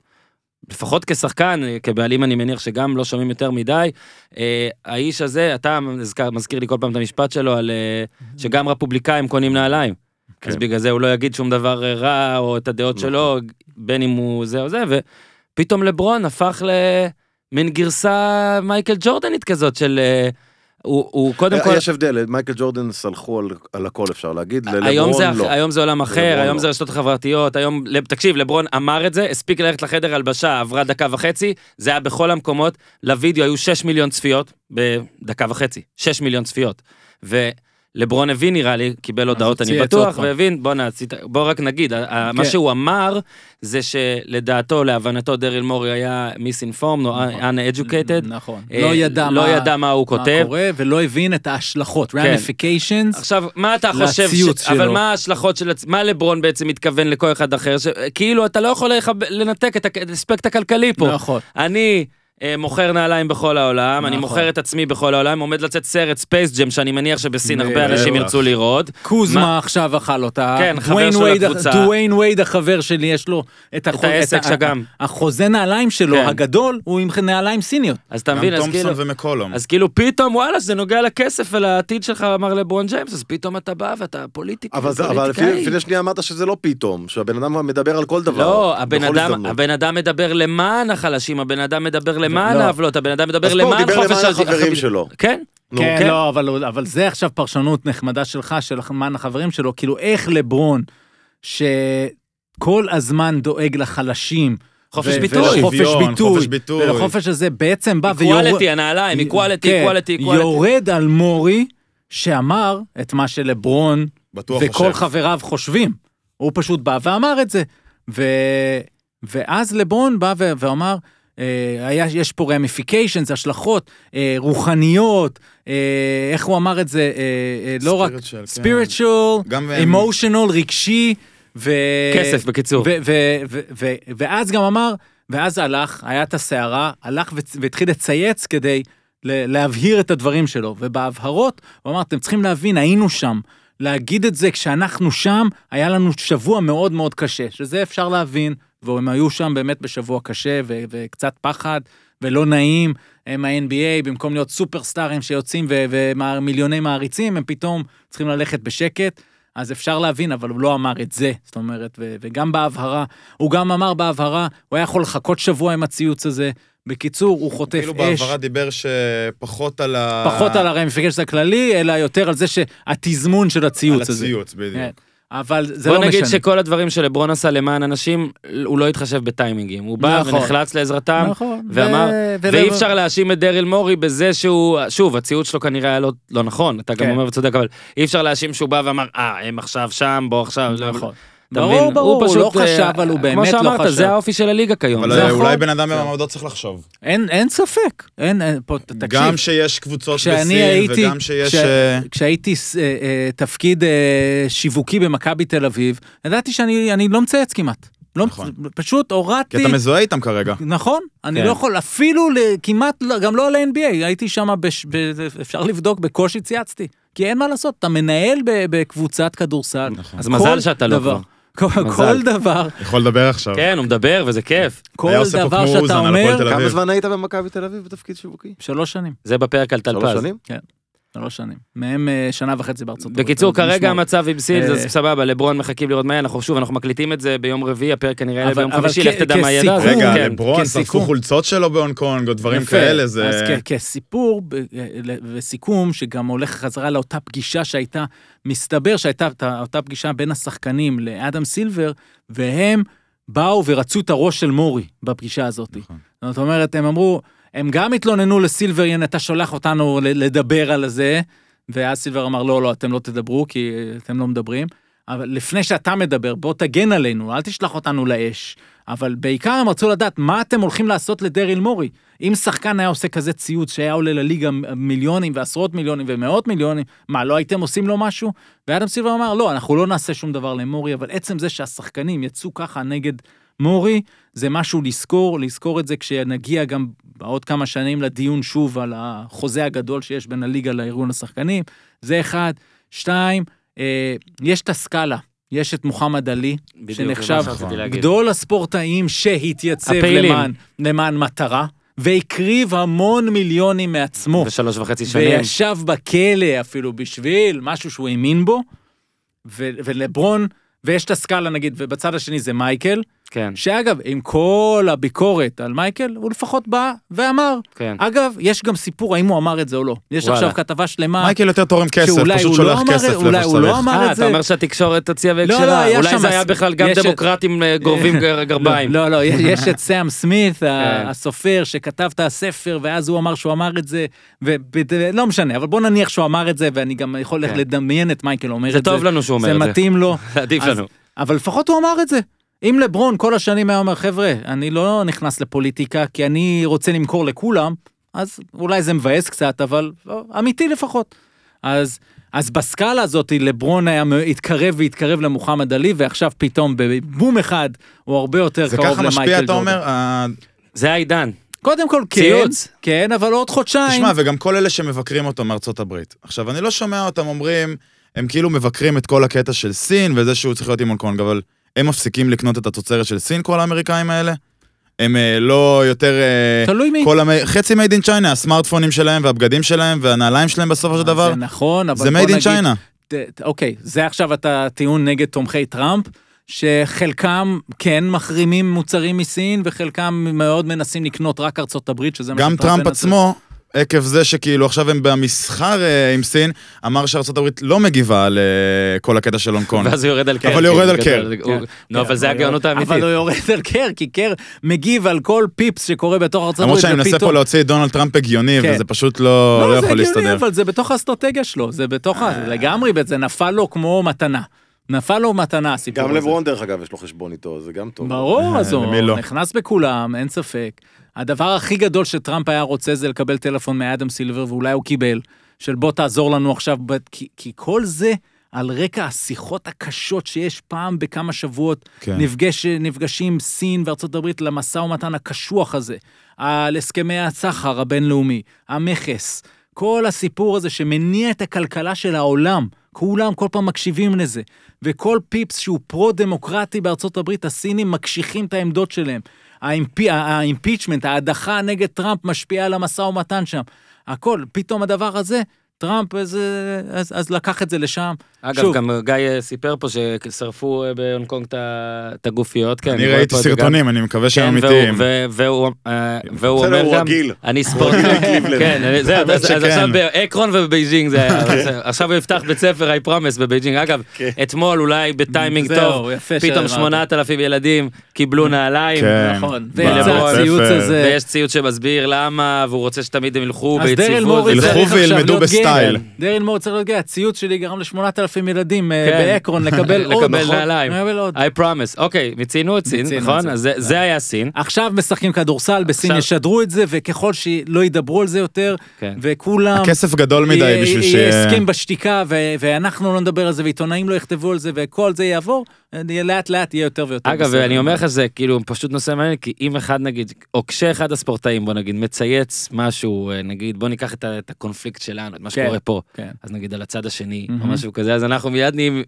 Speaker 1: לפחות כשחקן, כבעלים אני מניח שגם לא שומעים יותר מדי. אה, האיש הזה, אתה מזכיר, מזכיר לי כל פעם את המשפט שלו על אה, שגם רפובליקאים קונים נעליים.
Speaker 2: כן. נכון.
Speaker 1: אז בגלל זה הוא לא יגיד שום דבר אה, רע או את הדעות שלו, בין אם הוא זה או זה, ופתאום לברון הפך למין גרסה מייקל ג'ורדנית כזאת של... אה, הוא, הוא קודם כל...
Speaker 2: אה, יש הבדל, מייקל ג'ורדן סלחו על- על הכל אפשר להגיד,
Speaker 1: היום זה,
Speaker 2: ללברון
Speaker 1: אח-
Speaker 2: לא.
Speaker 1: היום זה עולם אחר,
Speaker 2: לברון
Speaker 1: היום
Speaker 2: לא.
Speaker 1: זה רשתות חברתיות, היום, לב- תקשיב, לברון אמר את זה, הספיק ללכת לחדר הלבשה, עברה דקה וחצי, זה היה בכל המקומות, לוידאו היו 6 מיליון צפיות בדקה וחצי, 6 מיליון צפיות. ולברון הבין נראה לי, קיבל הודעות, אני
Speaker 3: הוציא את זה עוד
Speaker 1: בטוח,
Speaker 3: פעם.
Speaker 1: והבין, בוא'נה, עשית- בוא רק נגיד, ה- ה- מה
Speaker 3: כן.
Speaker 1: שהוא אמר, זה שלדעתו, להבנתו, דריל מורי היה misinformed או uneducated.
Speaker 3: נכון.
Speaker 1: לא אה,
Speaker 3: לא ידע
Speaker 1: לא
Speaker 3: מה-
Speaker 1: ידע מה הוא
Speaker 3: מה
Speaker 1: כותב. כן.
Speaker 3: קורה, ולא הבין את ההשלכות, ramifications.
Speaker 1: עכשיו, מה אתה חושב,
Speaker 3: לציוץ
Speaker 1: ש... אבל
Speaker 3: שלו.
Speaker 1: מה ההשלכות של, הצ- מה לברון בעצם מתכוון לכל אחד אחר, ש... כאילו אתה לא יכול לחב... לנתק את הכ- את האספקט הכלכלי פה.
Speaker 3: נכון.
Speaker 1: אני אה, מוכר נעליים בכל העולם, אני
Speaker 3: נכון.
Speaker 1: מוכר את עצמי בכל העולם, עומד לצאת סרט ספייס ג'ם, שאני מניח שבסין הרבה
Speaker 3: בטח.
Speaker 1: אנשים ירצו לראות. מה-
Speaker 3: קוזמה עכשיו אכל אותה.
Speaker 1: כן, חבר
Speaker 3: דוויין
Speaker 1: של
Speaker 3: וייד-
Speaker 1: הקבוצה.
Speaker 3: דוויין וייד החבר שלי, יש לו את החו-
Speaker 1: העסק
Speaker 3: ה-
Speaker 1: שגם.
Speaker 3: החוזה נעליים שלו
Speaker 1: כן.
Speaker 3: הגדול, הוא עם נעליים סיניות.
Speaker 1: אז אתה
Speaker 4: גם
Speaker 1: מבין, אז כאילו...
Speaker 4: תומפסון ומקולום.
Speaker 1: אז כאילו פתאום וואלה זה נוגע לכסף ולעתיד שלך אמר לברון ג'יימס אז פתאום אתה בא ואתה פוליטיקאי.
Speaker 2: אבל זה- אבל
Speaker 1: פוליטיקאי.
Speaker 2: לפני- לפני שנייה אמרת שזה לא פתאום, שהבן אדם מדבר על כל דבר.
Speaker 1: לא, הבן
Speaker 2: בכל
Speaker 1: אדם,
Speaker 2: הזדמנות.
Speaker 1: הבן אדם מדבר למען החלשים, הבן אדם מדבר למען
Speaker 3: לא.
Speaker 1: העוולות, הבן אדם מדבר
Speaker 2: אז פה הוא
Speaker 1: למען
Speaker 2: דיבר
Speaker 1: חופש...
Speaker 2: למען
Speaker 1: הד-
Speaker 2: החברים
Speaker 1: החב-
Speaker 2: שלו.
Speaker 1: כן,
Speaker 2: נו,
Speaker 3: כן,
Speaker 1: כן.
Speaker 3: לא, אבל, הוא- אבל זה עכשיו פרשנות נחמדה שלך, של מן החברים שלו, כאילו איך לברון, שכל הזמן דואג לחלשים,
Speaker 1: חופש
Speaker 3: ו-
Speaker 1: ביטוי.
Speaker 3: ולחופש
Speaker 4: שוויון,
Speaker 3: ביטוי,
Speaker 4: חופש ביטוי.
Speaker 3: ולחופש הזה בעצם בא
Speaker 1: איקואליטי, הנעליים, איקואליטי,
Speaker 3: כן,
Speaker 1: איקואליטי, איקואליטי.
Speaker 3: יורד על מורי, שאמר את מה שלברון
Speaker 4: בטוח
Speaker 3: וכל
Speaker 4: חושב.
Speaker 3: חבריו חושבים. הוא פשוט בא ואמר את זה. ו... ואז לברון בא ו... ואמר, אה, היה, יש פה רמיפיקיישנס, השלכות אה, רוחניות, אה, איך הוא אמר את זה, אה, אה, לא רק
Speaker 4: Spiritual, כן.
Speaker 3: spiritual,
Speaker 4: גם-
Speaker 3: אמושיונל, רגשי. ו...
Speaker 1: כסף, בקיצור.
Speaker 3: ו- ו- ו- ו- ואז גם אמר, ואז הלך, היה את הסערה, הלך וצ- והתחיל לצייץ כדי ל- להבהיר את הדברים שלו. ובהבהרות, הוא אמר, אתם צריכים להבין, היינו שם. להגיד את זה כשאנחנו שם, היה לנו שבוע מאוד מאוד קשה, שזה אפשר להבין, והם היו שם באמת בשבוע קשה ו- וקצת פחד ולא נעים. הם ה-NBA, במקום להיות סופרסטארים שיוצאים ו- ומיליוני מעריצים, הם פתאום צריכים ללכת בשקט. אז אפשר להבין, אבל הוא לא אמר את זה, זאת אומרת, ו- וגם בהבהרה, הוא גם אמר בהבהרה, הוא היה יכול לחכות שבוע עם הציוץ הזה. בקיצור, הוא חוטף
Speaker 4: כאילו
Speaker 3: אש,
Speaker 4: בעברה דיבר שפחות על ה...
Speaker 3: פחות על הרמיפיקשן הכללי, אלא יותר על זה שהתזמון של
Speaker 4: על
Speaker 3: הציוץ הזה.
Speaker 4: הציוץ,
Speaker 3: כן.
Speaker 4: בדיוק.
Speaker 3: אבל זה
Speaker 1: בוא
Speaker 3: לא
Speaker 1: נגיד
Speaker 3: משנה.
Speaker 1: שכל הדברים שלברון עשה למען אנשים, הוא לא התחשב בטיימינגים. הוא בא
Speaker 3: נכון.
Speaker 1: ונחלץ לעזרתם,
Speaker 3: נכון,
Speaker 1: ואמר,
Speaker 3: ו- ולא-
Speaker 1: ואי אפשר להאשים את דריל מורי בזה שהוא, שוב, הציוד שלו כנראה היה לא, לא נכון, אתה גם
Speaker 3: כן.
Speaker 1: אומר וצודק, אבל אי אפשר להאשים שהוא בא ואמר, אה, הם עכשיו שם, בוא עכשיו. לא,
Speaker 3: נכון.
Speaker 1: אתה
Speaker 3: ברור,
Speaker 1: מבין?
Speaker 3: ברור, הוא לא
Speaker 1: אה,
Speaker 3: חשב, אבל הוא באמת לא
Speaker 1: כמו שאמרת,
Speaker 3: חשב.
Speaker 1: זה האופי של הליגה כיום.
Speaker 4: אבל
Speaker 1: זה נכון.
Speaker 4: אה,
Speaker 1: החוק.
Speaker 4: אולי בן אדם במעמדו צריך לחשוב.
Speaker 3: אין, אין ספק, אין, אין, פה, ת- תקשיב.
Speaker 4: גם שיש קבוצות
Speaker 3: כשאני
Speaker 4: בסין,
Speaker 3: הייתי,
Speaker 4: וגם שיש...
Speaker 3: כש-
Speaker 4: אה,
Speaker 3: כשהייתי ס- אה, אה, תפקיד אה, שיווקי במכבי תל אביב, ידעתי שאני אני לא מצייץ כמעט. לא,
Speaker 4: נכון.
Speaker 3: מצ- פשוט
Speaker 4: כי
Speaker 3: הורדתי,
Speaker 4: אתה מזוהה איתם כרגע.
Speaker 3: נכון, אני
Speaker 1: כן.
Speaker 3: לא יכול, אפילו ל- כמעט, לא- גם לא על ה-NBA, הייתי שם, בש- ב- אפשר לבדוק, בקושי צייצתי. כי אין מה לעשות, אתה מנהל ב- בקבוצת כדורסל.
Speaker 1: אז מזל
Speaker 3: כל
Speaker 1: שאתה לא
Speaker 3: דבר.
Speaker 1: כבר.
Speaker 3: כל-
Speaker 1: מזל.
Speaker 3: כל דבר,
Speaker 4: יכול לדבר עכשיו.
Speaker 1: כן, הוא מדבר וזה כיף.
Speaker 3: כל
Speaker 4: היה עושה פה
Speaker 3: דבר
Speaker 4: כמו
Speaker 3: שאתה
Speaker 4: אוזן על הפועל
Speaker 3: אומר,
Speaker 4: תל אביב.
Speaker 2: כמה זמן היית במכבי תל אביב בתפקיד שיווקי?
Speaker 3: שלוש שנים,
Speaker 1: זה בפרק על טלפז.
Speaker 2: שלוש שנים?
Speaker 3: שלוש שנים. מהם אה, שנה וחצי בארצות הברית.
Speaker 1: בקיצור,
Speaker 3: אז נשמור.
Speaker 1: כרגע המצב עם סילס,
Speaker 3: אה,
Speaker 1: אז סבבה, לברון מחכים לראות מה יהיה, אנחנו שוב, אנחנו מקליטים את זה ביום רביעי, הפרק כנראה יעלה
Speaker 3: אבל-
Speaker 1: ביום
Speaker 3: אבל
Speaker 1: חמישי,
Speaker 3: כ-
Speaker 1: לך תדע מה יהיה.
Speaker 3: כסיכום-
Speaker 1: אז-
Speaker 4: רגע,
Speaker 1: כן.
Speaker 4: לברון, שרפו
Speaker 3: כסיכום.
Speaker 4: חולצות שלו בהונג קונג, או דברים
Speaker 3: יפה.
Speaker 4: כאלה, זה...
Speaker 3: אז כן. כ- כסיפור ב- אה, ל- וסיכום, שגם הולך חזרה לאותה פגישה שהייתה, מסתבר שהייתה את ה- אותה פגישה בין השחקנים לאדם סילבר, והם באו ורצו את הראש של מורי בפגישה הזאת.
Speaker 4: נכון.
Speaker 3: זאת אומרת, הם אמרו, הם גם התלוננו לסילבר, הנה, אתה שולח אותנו ל- לדבר על זה, ואז סילבר אמר, לא, לא, אתם לא תדברו, כי אה, אתם לא מדברים. אבל לפני שאתה מדבר, בוא תגן עלינו, אל תשלח אותנו לאש. אבל בעיקר הם רצו לדעת מה אתם הולכים לעשות לדריל מורי. אם שחקן היה עושה כזה ציוץ שהיה עולה לליגה מ- מיליונים ועשרות מיליונים ומאות מיליונים, מה, לא הייתם עושים לו משהו? ואדם סילבר אמר, לא, אנחנו לא נעשה שום דבר למורי, אבל עצם זה שהשחקנים יצאו ככה נגד מורי, זה משהו לזכור, לזכור את זה כשנגיע גם בעוד כמה שנים לדיון שוב על החוזה הגדול שיש בין הליגה לארגון השחקנים. זה אחד. שתיים, אה, יש את הסקאלה, יש את מוחמד עלי,
Speaker 1: בדיוק, זה מה
Speaker 3: שנחשב
Speaker 1: שרציתי להגיד.
Speaker 3: גדול הספורטאים שהתייצב
Speaker 1: הפעילים.
Speaker 3: למען, למען מטרה, והקריב המון מיליונים מעצמו.
Speaker 1: ושלוש וחצי שנים.
Speaker 3: וישב בכלא אפילו בשביל משהו שהוא האמין בו, ו- ולברון, ויש את הסקאלה נגיד, ובצד השני זה מייקל,
Speaker 1: כן,
Speaker 3: שאגב, עם כל הביקורת על מייקל, הוא לפחות בא ואמר.
Speaker 1: כן.
Speaker 3: אגב, יש גם סיפור האם הוא אמר את זה או לא. יש
Speaker 1: וואלה.
Speaker 3: עכשיו כתבה שלמה,
Speaker 4: מייקל יותר תורם כסף,
Speaker 3: שאולי
Speaker 4: פשוט
Speaker 3: הוא לא
Speaker 4: שולח
Speaker 3: אמר-
Speaker 4: כסף
Speaker 3: אולי
Speaker 4: לאיפה
Speaker 3: הוא לא
Speaker 4: שצריך.
Speaker 3: אמר-
Speaker 1: אה,
Speaker 3: את
Speaker 1: אתה
Speaker 3: זה-
Speaker 1: אומר שהתקשורת תציע
Speaker 3: לא,
Speaker 1: והקשבה,
Speaker 3: היה
Speaker 1: אולי
Speaker 3: שם
Speaker 1: זה היה
Speaker 3: הס-
Speaker 1: בכלל גם
Speaker 3: יש-
Speaker 1: דמוקרטים אה,
Speaker 3: *laughs*
Speaker 1: גורבים גר- גרביים. כן.
Speaker 3: לא, לא, יש- יש את סאם סמית, ה- הסופר, שכתב את הספר, ואז הוא אמר שהוא אמר את זה, ולא לא משנה, אבל בוא נניח שהוא אמר את זה, ואני גם יכול
Speaker 1: כן.
Speaker 3: לדמיין את מייקל אומר את
Speaker 1: זה
Speaker 3: זה.
Speaker 1: טוב לנו שהוא אומר
Speaker 3: זה
Speaker 1: את זה.
Speaker 3: מתאים לו.
Speaker 1: *laughs* עדיף
Speaker 3: אז-
Speaker 1: לנו.
Speaker 3: אבל לפחות הוא אמר את זה. אם לברון כל השנים היה אומר, חבר'ה, אני לא נכנס לפוליטיקה כי אני רוצה למכור לכולם, אז אולי זה מבאס קצת, אבל לא, אמיתי לפחות. אז, אז בסקאלה הזאת לברון היה מ- התקרב והתקרב למוחמד עלי, ועכשיו פתאום בבום אחד הוא הרבה יותר
Speaker 4: זה
Speaker 3: קרוב למייקל ג'ורדן.
Speaker 4: ככה משפיע, אתה אומר? אה,
Speaker 1: זה העידן.
Speaker 3: קודם כל כן,
Speaker 1: ציוץ.
Speaker 3: כן, אבל עוד חודשיים.
Speaker 4: תשמע, וגם כל אלה שמבקרים אותו מארצות הברית. עכשיו, אני לא שומע אותם אומרים, הם כאילו מבקרים את כל הקטע של סין וזה שהוא צריך להיות עם הונג קונג, אבל הם מפסיקים לקנות את התוצרת של סין, כל האמריקאים האלה? הם אה, לא יותר... אה,
Speaker 3: תלוי מי.
Speaker 4: כל המ... חצי מייד אין צ'יינה, הסמארטפונים שלהם והבגדים שלהם והנעליים שלהם בסופו של דבר,
Speaker 3: זה נכון, אבל
Speaker 4: זה
Speaker 3: בוא
Speaker 4: made
Speaker 3: נגיד,
Speaker 4: in China.
Speaker 3: ת- ת- אוקיי, זה עכשיו אתה טיעון נגד תומכי טראמפ, שחלקם כן מחרימים מוצרים מסין, וחלקם מאוד מנסים לקנות רק ארצות הברית, שזה מה
Speaker 4: גם
Speaker 3: שאתה רוצה
Speaker 4: טראמפ
Speaker 3: לנסות.
Speaker 4: עצמו, עקב זה שכאילו עכשיו הם במסחר אה, עם סין, אמר שארצות הברית לא מגיבה על אה, כל הקטע של הונג
Speaker 1: *laughs*
Speaker 4: קונג.
Speaker 1: ואז הוא יורד על קר.
Speaker 4: אבל הוא יורד על
Speaker 1: כן,
Speaker 4: קר.
Speaker 1: גדול, הוא-
Speaker 3: כן.
Speaker 1: נו, אבל זה
Speaker 3: אבל
Speaker 1: הגאונות
Speaker 3: הוא- אבל
Speaker 1: האמיתית.
Speaker 3: הוא יורד על קר, כי קר מגיב על כל פיפס שקורה בתוך ארצות
Speaker 4: למרות
Speaker 3: הברית,
Speaker 4: שאני מנסה
Speaker 3: ופתאום-
Speaker 4: פה להוציא את דונלד טראמפ הגיוני,
Speaker 3: כן.
Speaker 4: וזה פשוט לא לא
Speaker 3: לא, זה
Speaker 4: יכול
Speaker 3: הגיוני,
Speaker 4: להסתדר. אה.
Speaker 3: אבל זה בתוך האסטרטגיה שלו, זה בתוך ה... לגמרי, זה נפל לו כמו מתנה. נפל לו מתנה הסיפור
Speaker 2: גם
Speaker 3: הזה.
Speaker 2: לברון דרך אגב יש לו חשבון איתו, זה גם טוב.
Speaker 3: ברור, אז
Speaker 4: למי
Speaker 3: הוא
Speaker 4: לא?
Speaker 3: נכנס בכולם, אין ספק. הדבר הכי גדול שטראמפ היה רוצה זה לקבל טלפון מאדם סילבר, ואולי הוא קיבל, של בוא תעזור לנו עכשיו, ב- כי, כי כל זה על רקע השיחות הקשות שיש פעם בכמה שבועות,
Speaker 4: כן.
Speaker 3: כן. נפגש, נפגשים סין וארצות הברית למשא ומתן הקשוח הזה, על הסכמי הסחר הבינלאומי, המכס, כל הסיפור הזה שמניע את הכלכלה של העולם, כולם כל פעם מקשיבים לזה, וכל פיפס שהוא פרו-דמוקרטי בארצות הברית, הסינים מקשיחים את העמדות שלהם. האימפ- האימפיצ'מנט, ההדחה נגד טראמפ משפיעה על המשא ומתן שם. הכל, פתאום הדבר הזה, טראמפ, אז, אז, אז לקח את זה לשם.
Speaker 1: אגב,
Speaker 3: שוב.
Speaker 1: גם גיא אה, סיפר פה ששרפו אה, בהונג קונג את ה- את הגופיות. כן,
Speaker 4: אני
Speaker 1: רואה
Speaker 4: ראיתי
Speaker 1: פה את זה גם.
Speaker 4: סרטונים, אני מקווה שהם
Speaker 1: כן,
Speaker 4: אמיתיים.
Speaker 1: והוא- ו- והוא אה, והוא
Speaker 2: בסדר,
Speaker 1: אומר
Speaker 2: הוא
Speaker 1: גם,
Speaker 2: רגיל.
Speaker 1: אני ספורטאי, כן, זהו,
Speaker 4: האמת
Speaker 1: אז אז
Speaker 4: שכן.
Speaker 1: עכשיו באקרון ובבייג'ינג זה
Speaker 2: כן.
Speaker 1: היה, אז עכשיו הוא יפתח בית ספר, I promise בבייג'ינג, אגב, אתמול אולי בטיימינג
Speaker 3: זהו,
Speaker 1: טוב,
Speaker 3: יפה
Speaker 1: פתאום
Speaker 3: שאמרת.
Speaker 1: 8,000 ילדים קיבלו נעליים,
Speaker 4: כן.
Speaker 3: נכון,
Speaker 4: בא
Speaker 1: ויצא
Speaker 3: הציוץ
Speaker 4: לבית
Speaker 3: הזה.
Speaker 1: ויש ציוד שמסביר למה, והוא רוצה שתמיד הם ילכו
Speaker 3: אז דרל
Speaker 1: ביציבות,
Speaker 3: מורי
Speaker 1: וזה.
Speaker 4: ילכו
Speaker 3: צריך עכשיו
Speaker 4: וילמדו
Speaker 3: להיות גאה.
Speaker 4: בסטייל.
Speaker 3: דרל מורי צריך להיות גאה, הציוץ שלי גרם ל-8,000 ילדים אה,
Speaker 1: כן.
Speaker 3: באקרון לקבל
Speaker 1: *laughs*
Speaker 3: עוד.
Speaker 1: לקבל
Speaker 3: נכון?
Speaker 1: נעליים,
Speaker 3: לקבל עוד.
Speaker 1: I promise, אוקיי, מיצינו את סין,
Speaker 3: מיצינו את אה.
Speaker 1: נכון?
Speaker 3: זה.
Speaker 1: אז זה- זה היה סין,
Speaker 3: עכשיו משחקים כדורסל, בסין
Speaker 1: עכשיו-
Speaker 3: ישדרו את זה, וככל שלא ידברו על זה יותר,
Speaker 1: כן.
Speaker 3: וכולם...
Speaker 4: הכסף גדול מדי
Speaker 3: יהיה-
Speaker 4: בשביל ש...
Speaker 3: יהיה הסכם בשתיקה, ו- ואנחנו לא נדבר על זה, ועיתונאים לא יכתבו על זה, וכל זה יעבור, אה, לאט לאט יהיה יותר ויותר.
Speaker 1: אגב,
Speaker 3: בסדר.
Speaker 1: אני אומר לך זה כאילו פשוט נושא מעניין, כי אם אחד נגיד, או כשאחד הספורטאים, בוא נגיד, מצייץ משהו, אה, נגיד, בוא ניקח את ה- את הקונפליקט שלנו, את מה
Speaker 3: כן.
Speaker 1: שקורה פה,
Speaker 3: כן.
Speaker 1: אז נגיד על הצד השני, או
Speaker 3: מהמם.
Speaker 1: משהו כזה, אז אנחנו מיד נהיים...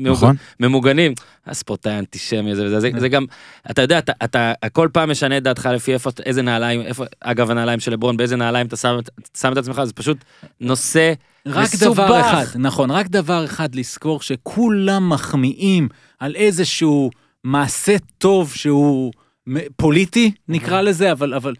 Speaker 1: ממוג-
Speaker 4: נכון?
Speaker 1: ממוגנים, הספורטאי האנטישמי הזה וזה, זה,
Speaker 3: כן.
Speaker 1: זה גם, אתה יודע, אתה, אתה כל פעם משנה את דעתך לפי איפה, איזה נעליים, איפה, אגב הנעליים של לברון, באיזה נעליים אתה שם, את- שם את עצמך, זה פשוט נושא
Speaker 3: רק
Speaker 1: מסובך.
Speaker 3: דבר אחד, נכון, רק דבר אחד לזכור שכולם מחמיאים על איזשהו מעשה טוב שהוא מ- פוליטי, נקרא לזה, אבל, אבל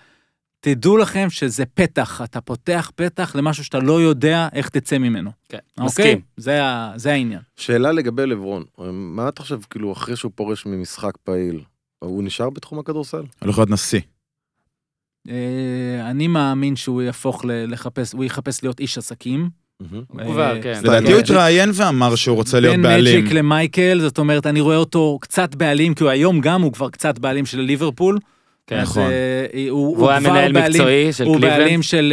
Speaker 3: תדעו לכם שזה פתח, אתה פותח פתח למשהו שאתה לא יודע איך תצא ממנו.
Speaker 1: כן,
Speaker 3: אוקיי?
Speaker 1: מסכים.
Speaker 3: זה, ה- זה העניין.
Speaker 2: שאלה לגבי לברון, מה אתה חושב, כאילו, אחרי שהוא פורש ממשחק פעיל, הוא נשאר בתחום הכדורסל?
Speaker 4: הולך להיות נשיא.
Speaker 3: כן. אה, אני מאמין שהוא יהפוך ל- לחפש, הוא יחפש להיות איש עסקים.
Speaker 1: הוא כבר,
Speaker 3: אה,
Speaker 1: כן.
Speaker 4: לדעתי הוא
Speaker 2: כן.
Speaker 4: התראיין ואמר שהוא רוצה להיות
Speaker 3: בין
Speaker 4: בעלים.
Speaker 3: מג'יק למייקל, זאת אומרת, אני רואה אותו קצת בעלים, כי הוא היום גם הוא כבר קצת בעלים של ליברפול.
Speaker 1: כן.
Speaker 3: אז,
Speaker 4: נכון.
Speaker 3: אה, הוא,
Speaker 1: והוא היה
Speaker 3: כבר
Speaker 1: מנהל
Speaker 3: בעלים-
Speaker 1: מקצועי של
Speaker 3: הוא
Speaker 1: קליבלנד.
Speaker 3: בעלים של,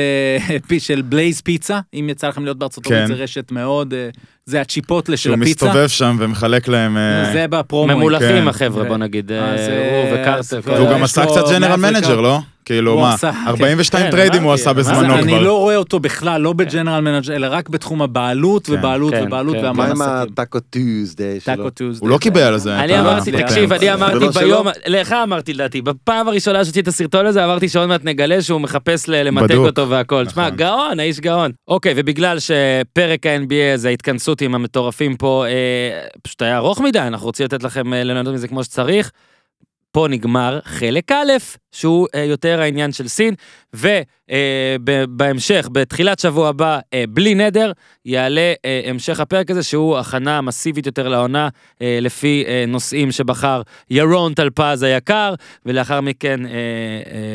Speaker 3: אה, *laughs* פי- של בלייז פיצה, אם יצא לכם להיות בארצות
Speaker 4: כן.
Speaker 3: הברית, זה רשת מאוד, אה, זה הצ'יפוטלה של
Speaker 4: שהוא
Speaker 3: הפיצה.
Speaker 4: מסתובב שם ומחלק להם... אה,
Speaker 3: זה בפרומואים.
Speaker 1: ממולחים
Speaker 4: כן.
Speaker 1: החבר'ה, בוא נגיד,
Speaker 3: אז,
Speaker 1: אה, הוא
Speaker 3: אה,
Speaker 1: וקרטר.
Speaker 3: אז-
Speaker 1: כל
Speaker 4: והוא
Speaker 1: ה-
Speaker 4: גם
Speaker 3: יש
Speaker 4: עשה
Speaker 3: לו
Speaker 4: קצת ג'נרל
Speaker 3: מאפריקה.
Speaker 4: מנג'ר, לא? כאילו
Speaker 3: הוא
Speaker 4: מה,
Speaker 3: עשה, כן.
Speaker 4: 42
Speaker 1: כן,
Speaker 4: טריידים הוא
Speaker 1: אמרתי,
Speaker 4: עשה
Speaker 1: אמרתי.
Speaker 3: אז
Speaker 4: בזמנו
Speaker 3: אני
Speaker 4: כבר.
Speaker 3: לא רואה אותו בכלל, לא בג'נרל מנג'ר, אלא רק בתחום הבעלות
Speaker 4: כן,
Speaker 3: ובעלות
Speaker 1: כן,
Speaker 3: ובעלות
Speaker 1: כן.
Speaker 2: מה
Speaker 3: והמון
Speaker 2: עם
Speaker 3: עסקים.
Speaker 2: הטאקו טיוזדיי שלו?
Speaker 3: טאקו טיוז.
Speaker 4: הוא לא קיבל על זה. את
Speaker 1: אני
Speaker 4: ה- כן. לא
Speaker 1: אמרתי,
Speaker 4: הפטנט.
Speaker 1: תקשיב, אני
Speaker 2: ולא
Speaker 1: אמרתי
Speaker 2: שלו?
Speaker 1: ביום, לך אמרתי לדעתי, בפעם הראשונה שעשיתי את הסרטון הזה, אמרתי שעוד מעט נגלה שהוא מחפש ל- למתג
Speaker 4: בדוק.
Speaker 1: אותו והכל. תשמע,
Speaker 4: נכון.
Speaker 1: גאון, האיש גאון. אוקיי, ובגלל שפרק ה-NBA זה ההתכנסות עם המטורפים פה, אה, פשוט היה ארוך מדי, אנחנו רוצים לתת לכם אה, ליהנות מזה כמו שצריך. פה נגמר חלק א', שהוא אה, יותר העניין של סין, ובהמשך, אה, בתחילת שבוע הבא, אה, בלי נדר, יעלה אה, המשך הפרק הזה, שהוא הכנה מסיבית יותר לעונה, אה, לפי אה, נושאים שבחר ירון טלפז היקר, ולאחר מכן, אה, אה,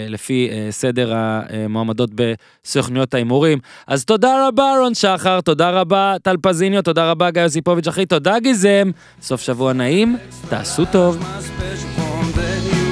Speaker 1: לפי אה, סדר המועמדות בסוכנויות ההימורים. אז תודה רבה, רון שחר, תודה רבה, טלפזיניו, תודה רבה, גיא יוסיפוביץ' אחי, תודה, גיזם. סוף שבוע נעים, תעשו טוב.
Speaker 5: my special form that you